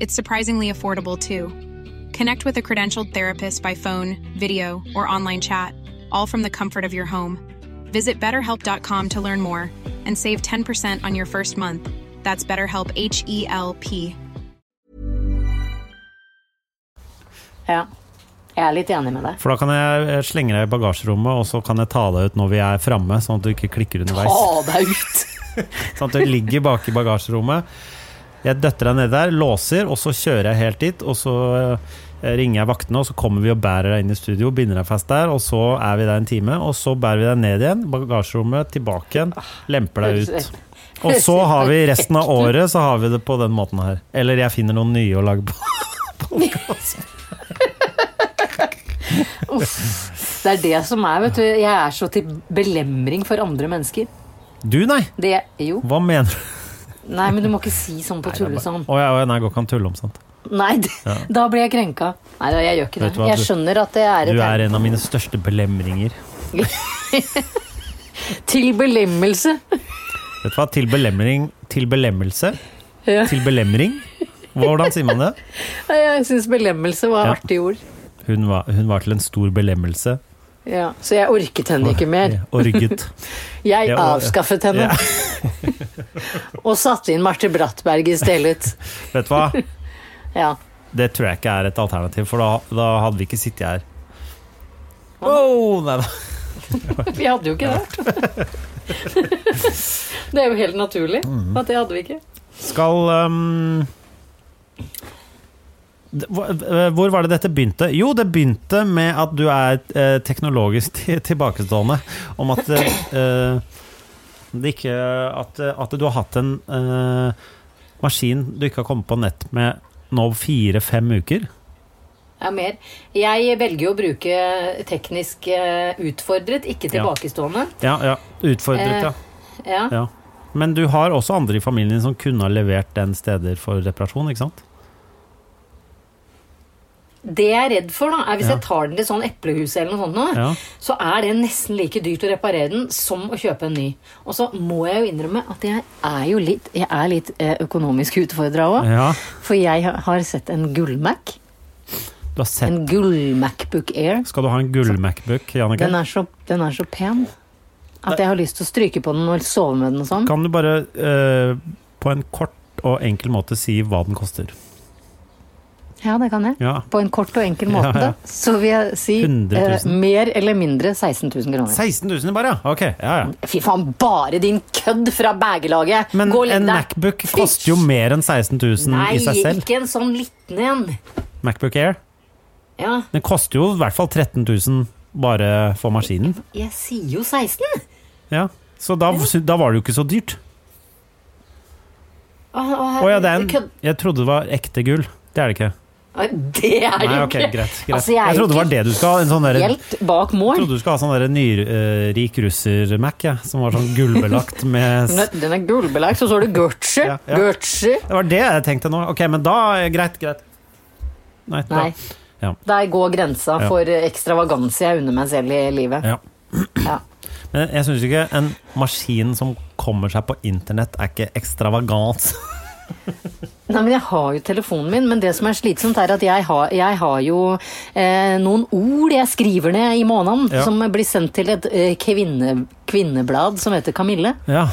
It's surprisingly affordable too. Connect with a credentialed therapist by phone, video, or online chat, all from the comfort of your home. Visit betterhelp.com to learn more and save 10% on your first month. That's BetterHelp, H E L P.
Ja. Jeg er litt enig med deg.
For da kan jeg eh, slenge deg i bagasjerommet, og så kan jeg ta deg ut når vi er framme, sånn at du ikke klikker underveis.
Ta deg ut!
Sånn at du ligger bak i bagasjerommet. Jeg døtter deg ned der, låser, og så kjører jeg helt dit. Og så eh, ringer jeg vaktene, og så kommer vi og bærer deg inn i studio, binder deg fast der, og så er vi der en time. Og så bærer vi deg ned igjen, bagasjerommet, tilbake igjen, lemper deg ut. Og så
[laughs]
har vi resten av året så har vi det på den måten her. Eller jeg finner noen nye å lage på. [laughs]
Det er det som er, vet du. Jeg er så til belemring for andre mennesker.
Du, nei!
Det Jo.
Hva mener du?
Nei, men du må ikke si sånn på tullesånn.
Å ja, å ja, nei, jeg går ikke an å tulle om sånt.
Nei, det, da blir jeg krenka. Nei da, jeg gjør ikke
Vet du
det.
hva,
Jeg
du-
skjønner at det er
Du
et
er en av mine største belemringer.
Til belemmelse. [laughs]
Vet du hva? Til belemring Til belemmelse? Til belemring? Hvordan sier man det?
Nei, Jeg syns belemmelse var
Ja.
artig ord.
Hun var, hun var til en stor belemmelse.
Ja, så jeg orket henne ikke mer.
Orget.
Jeg
Ja, og-
avskaffet henne.
Ja.
[laughs]
[laughs]
Og satte inn Marte Brattberg i stedet.
Vet du hva?
Ja.
Det tror jeg ikke er et alternativ, for da, da hadde vi ikke sittet her. Wow, nei da.
Vi hadde jo ikke det. [laughs] Det er jo helt naturlig
Mhm.
at det hadde vi ikke.
Skal ehm, d- hva- eh, Hvor var det dette begynte? Jo, det begynte med at du er eh, teknologisk til- tilbakestående. Om at eh, eh, det ikke at, at du har hatt en eh, maskin du ikke har kommet på nett med nå fire-fem uker.
Ja, mer. Jeg velger å bruke teknisk eh, utfordret, ikke
Ja.
tilbakestående.
Ja, ja. Utfordret, ja.
Eh, Ja.
ja. Men du har også andre i familien din som kunne ha levert den steder for reparasjon, ikke sant?
Det jeg er redd for, da, er hvis
Ja.
jeg tar den til sånn eplehuset eller noe sånt, nå,
Ja.
så er det nesten like dyrt å reparere den som å kjøpe en ny. Og så må jeg jo innrømme at jeg er jo litt, jeg er litt eh, økonomisk utfordra òg.
ja.
For jeg ha- har sett en gull-Mac.
Du har sett
En gull-Macbook Air.
Skal du ha en gull-Macbook, Jannicke?
Den er, så, den er så pen at jeg har lyst til å stryke på den og sove med den og sånn.
Kan du bare eh, på en kort og enkel måte si hva den koster?
Ja, det kan jeg.
Ja.
På en kort og enkel måte
Ja, ja.
så vil jeg si
100
eh,
000.
mer eller mindre 16 000 kroner.
16 000 bare, ja? Ok, ja ja.
Fy faen, bare din kødd fra bagelaget!
Men
Gå og legg
en
deg.
Macbook
Fy-
koster jo mer enn 16 000
Nei,
i seg selv.
ikke en sånn liten en.
Macbook Air.
Ja,
Den koster jo i hvert fall 13 000 bare for maskinen.
jeg sier jo 16!
Ja. Så da, da var det jo ikke så dyrt.
Å
Å ja, det er en Jeg trodde det var ekte gull. Det er det ikke.
Det er
Nei,
jo
ok,
ikke
greit. greit.
Altså,
jeg,
jeg er jo
trodde det var det du skal ha. En sånn derre-
helt bak mål.
trodde du skulle ha sånn derre nyrik russer-Mac, ja, som var sånn gullbelagt med
Den er- Den er gullbelagt, og så står det Gucci.
Ja, ja.
Gucci.
Det var det jeg tenkte nå. Ok, men da Greit, greit. Nei. da-
Nei.
Ja.
Der går grensa
Ja.
for ekstravaganse jeg unner meg selv i livet.
Ja.
Ja.
Men jeg syns ikke en maskin som kommer seg på internett, er ikke ekstravagant.
Nei, men Jeg har jo telefonen min, men det som er slitsomt, er at jeg har, jeg har jo eh, noen ord jeg skriver ned i måneden,
Ja.
som blir sendt til et eh, kvinne, kvinneblad som heter Kamille.
Ja,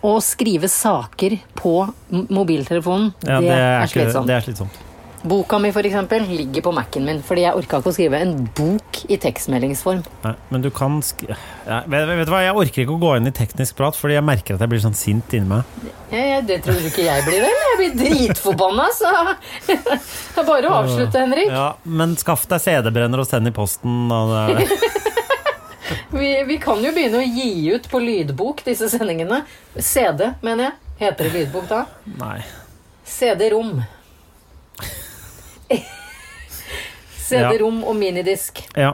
Å skrive saker på m- mobiltelefonen,
ja
det, er,
ikke- [laughs]
slitsomt.
Det er slitsomt.
Boka mi for eksempel, ligger på Mac-en min, fordi jeg orka ikke å skrive en bok i tekstmeldingsform.
Nei, men du kan sk... Nei, vet, vet du hva, jeg orker ikke å gå inn i teknisk prat, fordi jeg merker at jeg blir sånn sint inni meg.
Ja, ja, det tror du ikke jeg blir, vel? Jeg blir dritforbanna, så [laughs] Det er bare å avslutte, Henrik.
Ja, men skaff deg CD-brenner og send i posten. Og
[laughs]
det er det.
Vi, vi kan jo begynne å gi ut på lydbok disse sendingene. CD, mener jeg. Heter det lydbok da?
Nei.
CD-rom. [laughs] CD-rom og minidisk.
Ja.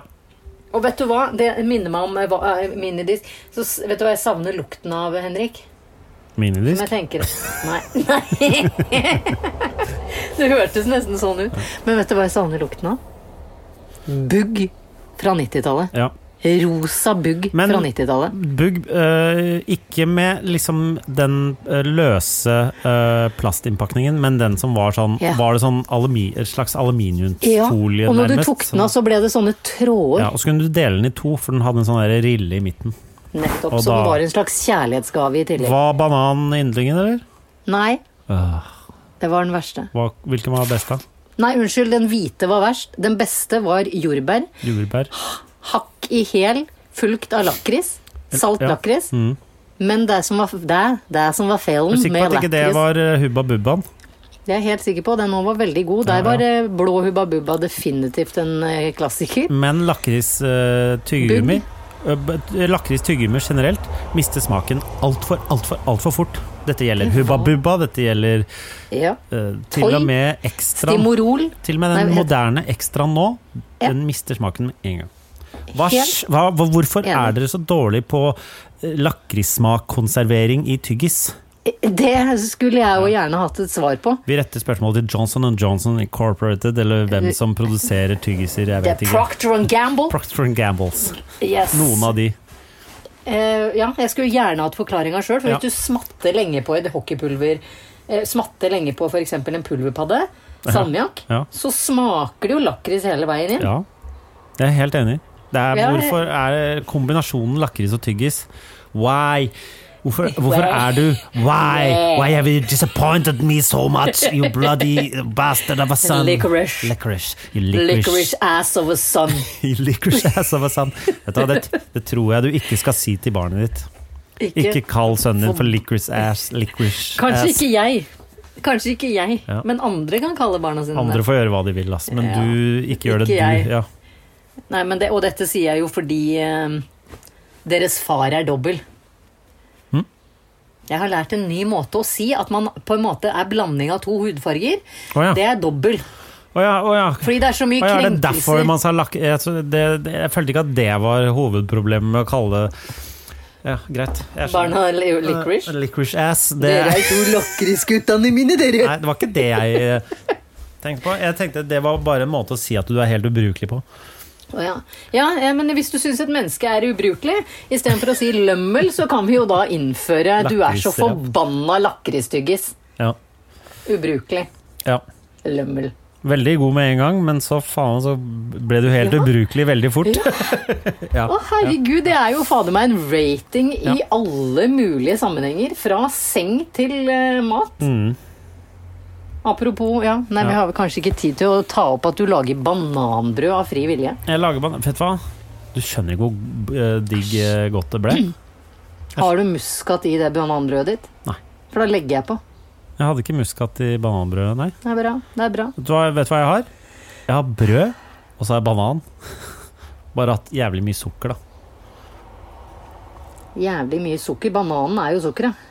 Og vet du hva? Det minner meg om eh, hva- eh, minidisk. Så s- vet du hva jeg savner lukten av, Henrik?
Minidisk.
Men jeg tenker Nei. nei. [laughs] Det hørtes nesten sånn ut. Men vet du hva jeg savner lukten av? Bugg fra 90-tallet.
Ja.
Rosa bugg
Men-
fra 90-tallet.
Bugg eh, ikke med liksom den eh, løse eh, plastinnpakningen, men den som var sånn
Ja.
Var det sånn alumi, et slags aluminiumsfolie nærmest? sånn.
Ja, og når du tok den av, så ble det sånne tråder
ja, Og så kunne du dele den i to, for den hadde en sånn der rille i midten.
nettopp,
og
som
da-
var en slags kjærlighetsgave i tillegg.
Var banan yndlingen, eller?
Nei,
Øh,
det var den verste.
hva, hvilken var best, da?
Nei, unnskyld, den hvite var verst. Den beste var jordbær.
Jordbær?
Hakk i hæl, fulgt av lakris. Salt
Ja. Mm.
lakris. Men det som var, det, det som var
Er du
feilen
sikker på
med
at ikke det
lakris
var eh, Hubba Bubbaen?
Det er jeg helt sikker på. Den nå var veldig god. Der
Ja, ja.
var eh, blå Hubba Bubba definitivt en eh, klassiker.
Men lakris eh, tyggegummi eh, b- Lakris tyggegummi generelt mister smaken altfor, altfor, altfor fort. Dette gjelder Hubba Bubba, dette gjelder
Ja.
eh, til
Oi.
og med ekstra
Stimorol.
Til og med
Nei,
den
men-
moderne Extraen nå,
Ja.
den mister smaken med en gang. Hva,
Helt
sj- hva, hva- hvorfor
enig.
er dere så dårlige på eh, lakrissmakkonservering i tyggis?
Eh, Det skulle jeg jo gjerne hatt et svar på.
Vi retter spørsmålet til Johnson Johnson Incorporated, eller hvem som produserer tyggiser. Jeg
Eh, Det
vet
er
ikke.
Procter and Gamble.
Procter Gambles.
Yes.
Noen av de.
Eh, ja, jeg skulle gjerne hatt forklaringa sjøl, for
Ja.
hvis du smatter lenge på et hockeypulver eh, Smatter lenge på f.eks. en pulverpadde, salmiakk,
Ja.
så smaker det jo lakris hele veien inn.
Ja, jeg er helt enig. Det er,
Ja, det-
hvorfor er kombinasjonen lakris og tyggis Why? Hvorfor, hvorfor er du Why? Why have you disappointed me so much, you bloody bastard of a son?
Licorice.
Licorice. You licorice.
Licorice ass of a son.
[laughs] You licorice ass of a son. Vet du hva, det, det tror jeg du ikke skal si til barnet ditt. Ikke kall sønnen din for licorice ass. Licorice
Kanskje
ass.
ikke jeg. Kanskje ikke jeg,
Ja.
men andre kan kalle barna sine
Andre
det.
får gjøre hva de vil, ass, men
Ja.
du ikke gjør det,
Ikke jeg.
du. Ja.
Nei, men det. Og dette sier jeg jo fordi eh, deres far er dobbel.
Hm?
Jeg har lært en ny måte å si at man på en måte er blanding av to hudfarger.
Å ja.
Det er dobbel.
Å ja, å ja.
Fordi det er så mye
Og ja, er det derfor
krenkelser.
man sa lak... Jeg, tror det, det, jeg følte ikke at det var hovedproblemet med å kalle det Ja, greit. Jeg skjønner.
Barna li licorice.
Eh, Licorice ass. sånn? Det,
Dere er jo lakrisguttene mine, dere!
[laughs] nei, det var ikke det jeg eh, tenkte på. Jeg tenkte Det var bare en måte å si at du er helt ubrukelig på.
Å ja. ja, eh, men hvis du syns et menneske er ubrukelig, istedenfor å si lømmel, så kan vi jo da innføre 'du er så
Lakrisrep.
forbanna lakristyggis'.
Ja.
Ubrukelig.
ja.
Lømmel.
Veldig god med en gang, men så faen så ble du helt
Ja.
ubrukelig veldig fort. [laughs] Ja.
Å, herregud, det er jo fader meg en rating i
Ja.
alle mulige sammenhenger. Fra seng til eh, mat. Apropos, ja. Nei,
Mm. Ja.
vi har vel kanskje ikke tid til å ta opp at du lager bananbrød av fri vilje.
Jeg lager ban... Vet du hva? Du skjønner ikke hvor eh, digg eh, godt det
[clears throat]
ble.
Har du muskat i det bananbrødet ditt?
Nei.
For da legger jeg på.
Jeg hadde ikke muskat i bananbrødet, nei.
Det er bra. det er bra.
Vet du, hva, vet du hva jeg har? Jeg har brød, og så har jeg banan. [laughs] Bare hatt jævlig mye sukker, da.
Jævlig mye sukker. Bananen er jo sukkeret.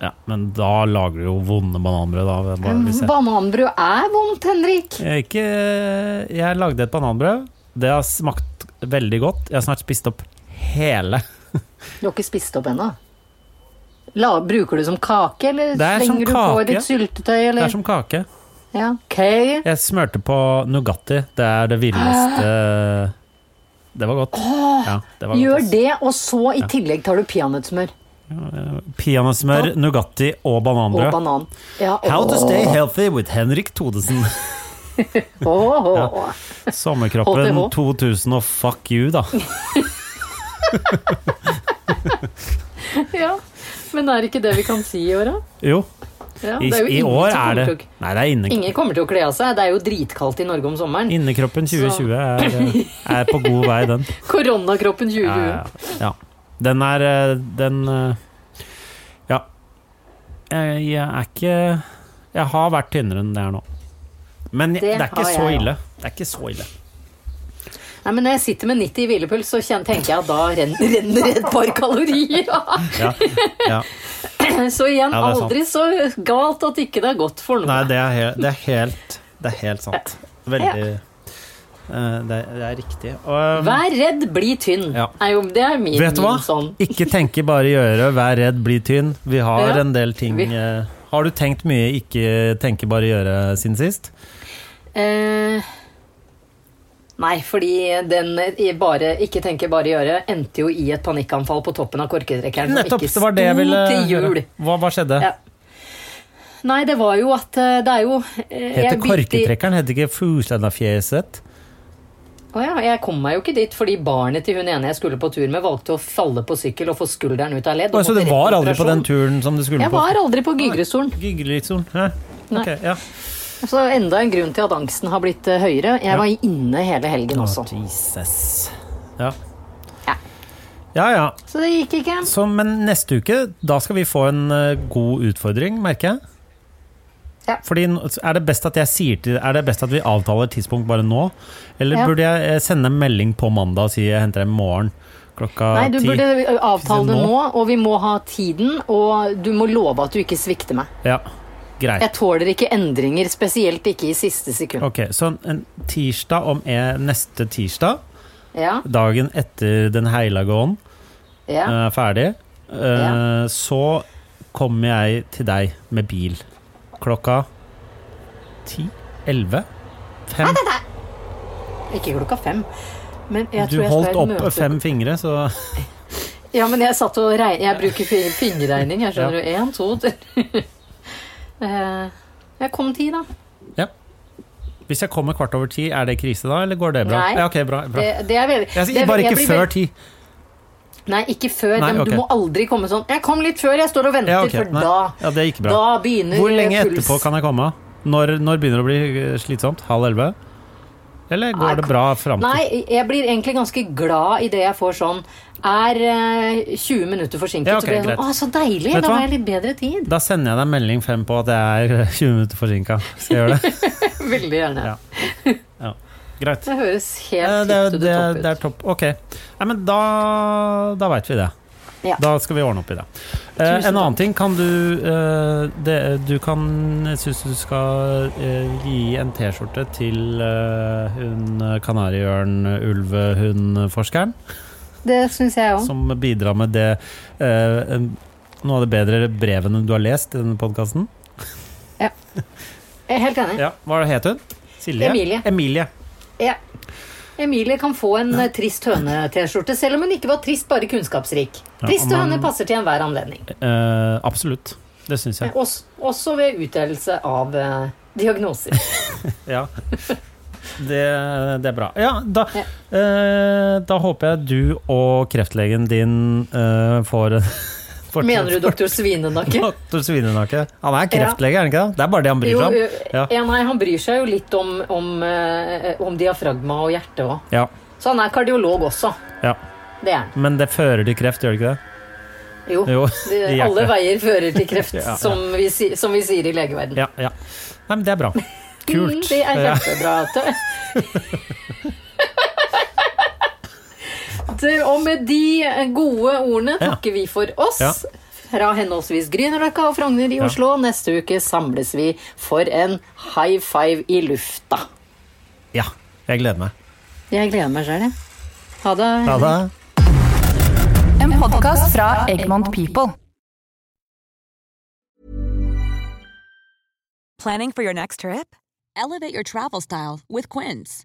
Ja, men da lager du jo vonde bananbrød, da. Bare, hvis jeg.
Bananbrød er vondt, Henrik.
Jeg, er ikke, jeg lagde et bananbrød. Det har smakt veldig godt. Jeg har snart spist opp hele.
Du har ikke spist opp ennå. La- Bruker du som kake, eller
Det er som
slenger du på i
kake.
ditt syltetøy?
Det
Eller?
er som kake.
Ja, ok.
Jeg smørte på Nugatti. Det er det villeste Det var godt. Ja, det var
Gjør
godt. ass.
det, og så i tillegg tar du peanøttsmør
Peanøttsmør, Nugatti og
og
bananbrød.
banan. Ja,
How to
åh,
stay healthy with Henrik Thodesen.
åh, åh.
Sommerkroppen
HTH.
2000 og fuck you, da.
[laughs] Ja. Men er det ikke det vi kan si i år, da?
Jo,
Ja,
i,
det jo
i
ingen
år er
som kommer
det
til å-
Nei, det er inne,
Ingen kommer til å kle av seg. Det er jo dritkaldt i Norge om sommeren.
innekroppen 2020 er, eh, er på god vei,
[laughs]
den.
Koronakroppen 2020.
Ja, ja, ja. Den er eh, Den eh, Ja. Eh, Jeg, jeg er ikke Jeg har vært tynnere enn det er nå. Men jeg, det
Det
er ikke
har
så
jeg, ja.
ille. Det er ikke så ille.
Nei, men Når jeg sitter med 90 i hvilepuls, så kjen- tenker jeg at da renner, [laughs] renner et par kalorier av.
Ja. Ja.
[clears throat] Så
Ja,
igjen,
det er sant.
aldri så galt at ikke det er godt for noe.
Nei, det er, he- det er helt Det er helt sant. Veldig eh, det, er, det er riktig. Og, um,
Vær redd, bli tynn.
Ja.
Er jo, det er min,
Vet du hva?
min sånn.
Ikke tenke, bare gjøre. Vær redd, bli tynn. Vi har
Ja.
en del ting
Vi-
eh, Har du tenkt mye ikke tenke, bare gjøre siden sist?
Eh, nei, fordi den eh, i bare, ikke tenker bare gjøre endte jo i et panikkanfall på toppen av korketrekkeren. som
Nettopp!
ikke
Det var det jeg
sto
ville
til jul.
høre. Hva, hva skjedde?
Ja. Nei, det var jo at eh, det er jo eh,
Heter
jeg begynte i-
korketrekkeren heter ikke Fuslendafjeset?
Å ja, jeg kom meg jo ikke dit fordi barnet til hun ene jeg skulle på tur med, valgte å falle på sykkel og få skulderen ut av ledd. og
Så
måtte
det
rett
var aldri på den
operasjon.
turen som du skulle
Jeg
på?
var aldri på Gygrestolen.
Gyggelitzon. Hæ? Ok, ja.
Så enda en grunn til at angsten har blitt eh, høyere. Jeg var inne hele helgen
Å,
også.
Jesus. Ja.
Ja.
Ja ja.
Så det gikk ikke.
Så, men neste uke, da skal vi få en eh, god utfordring, merker jeg.
Ja.
Fordi n- er det best at jeg sier til Er det best at vi avtaler tidspunkt bare nå? Eller
Ja.
burde jeg eh, sende en melding på mandag og si jeg henter deg i morgen klokka
Nei, du
ti?
burde eh, avtale det
Nå?
nå, og vi må ha tiden, og du må love at du ikke svikter meg.
Ja, greit.
Jeg tåler ikke endringer, spesielt ikke i siste sekund.
Ok, så en- en tirsdag om eh, neste tirsdag,
Ja,
dagen etter Den hellige ånd
ja.
er ferdig, eh,
Ja.
så kommer jeg til deg med bil klokka ti? Elleve? Fem?
Ikke klokka fem. Men jeg
Du
tror jeg skal
holdt
i et
opp
møte.
fem fingre, så
Ja, men jeg satt og regn... Jeg bruker fi- fingerregning, jeg skjønner du. Én, to, tre [laughs] Eh, Jeg kom ti, da.
Hvis jeg kommer kvart over ti, er det krise da, eller går det bra?
Nei.
Ja, ok, bra, bra.
Det, det er veldig
Jeg
det er-
sier bare
jeg
ikke
blir
før
veld-
ti.
Nei, ikke før.
Nei,
men
ok.
Du må aldri komme sånn 'Jeg kom litt før, jeg står og venter',
Ja, ok.
for
Nei.
da,
Ja, det gikk bra.
da begynner
Hvor lenge
puls.
etterpå kan jeg komme? Når, når begynner det å bli eh, slitsomt? Halv elleve? Eller
Nei,
går det bra fram til
Nei, jeg blir egentlig ganske glad i det jeg får sånn Er eh, 20 minutter forsinket,
Ja, ok,
så blir jeg
greit.
sånn Å, så deilig!
Vet du
Da
hva?
har jeg litt bedre tid.
Da sender jeg deg melding fem på at jeg er [laughs] eh, 20 minutter forsinka. Skal jeg gjøre
[laughs]
det?
Veldig gjerne.
Ja. Ja. Greit.
Det høres
Eh,
helt
Det,
tipp to
det,
the top ut.
det er topp. Ok. Nei, men da, da veit vi det.
Ja.
Da skal vi ordne opp i det. Eh,
Tusen
en annen
takk.
ting kan du eh, det, Du kan Jeg syns du skal eh, gi en T-skjorte til eh, hun kanariørn-ulvehundforskeren,
Det syns jeg òg.
som bidrar med det eh, en- noe av det bedre brevene du har lest i denne podkasten.
Jeg er helt enig.
Ja. Hva het hun? Silje?
Emilie.
Emilie.
Ja. Emilie kan få en eh, trist høne-T-skjorte, selv om hun ikke var trist, bare kunnskapsrik.
Ja,
Trist
og man-
høne passer til enhver anledning. Eh,
Eh, absolutt. Det syns jeg.
Også, også ved utdelelse av eh,
[laughs]
diagnoser.
Ja. Det, det er bra. Ja, da,
Ja.
eh, da håper jeg du og kreftlegen din eh, får [laughs] får-
Mener du doktor Svinenakke?
[laughs] Doktor Svinenakke. Han er kreftlege, er han ikke det? Det er bare det han bryr
Jo,
seg
jo,
om. Ja.
ja, nei, han bryr seg jo litt om, om, eh, om diafragma og hjerte òg.
Ja,
Så han er kardiolog også.
ja.
Det er han.
Men det fører til kreft, gjør det ikke det?
Jo.
Jo,
Det,
[laughs] i hjertet.
alle veier fører til kreft,
[laughs] Ja, ja.
Som, vi, si- som vi sier i legeverdenen.
Ja, ja. Nei, men det er
[laughs]
bra. Kult.
Mm, det er
Ja.
kjempebra. Tø- Tø- og med de gode ordene
Ja.
takker vi for oss.
Ja.
Fra henholdsvis Grünerløkka og Frogner i
Ja.
Oslo. Neste uke samles vi for en high five i lufta.
Ja. Jeg gleder meg.
Jeg gleder meg sjøl, jeg. Ha det.
Ha det.
En podkast fra Egmont People.
Planning for your next trip? Elevate your travel style with Quince.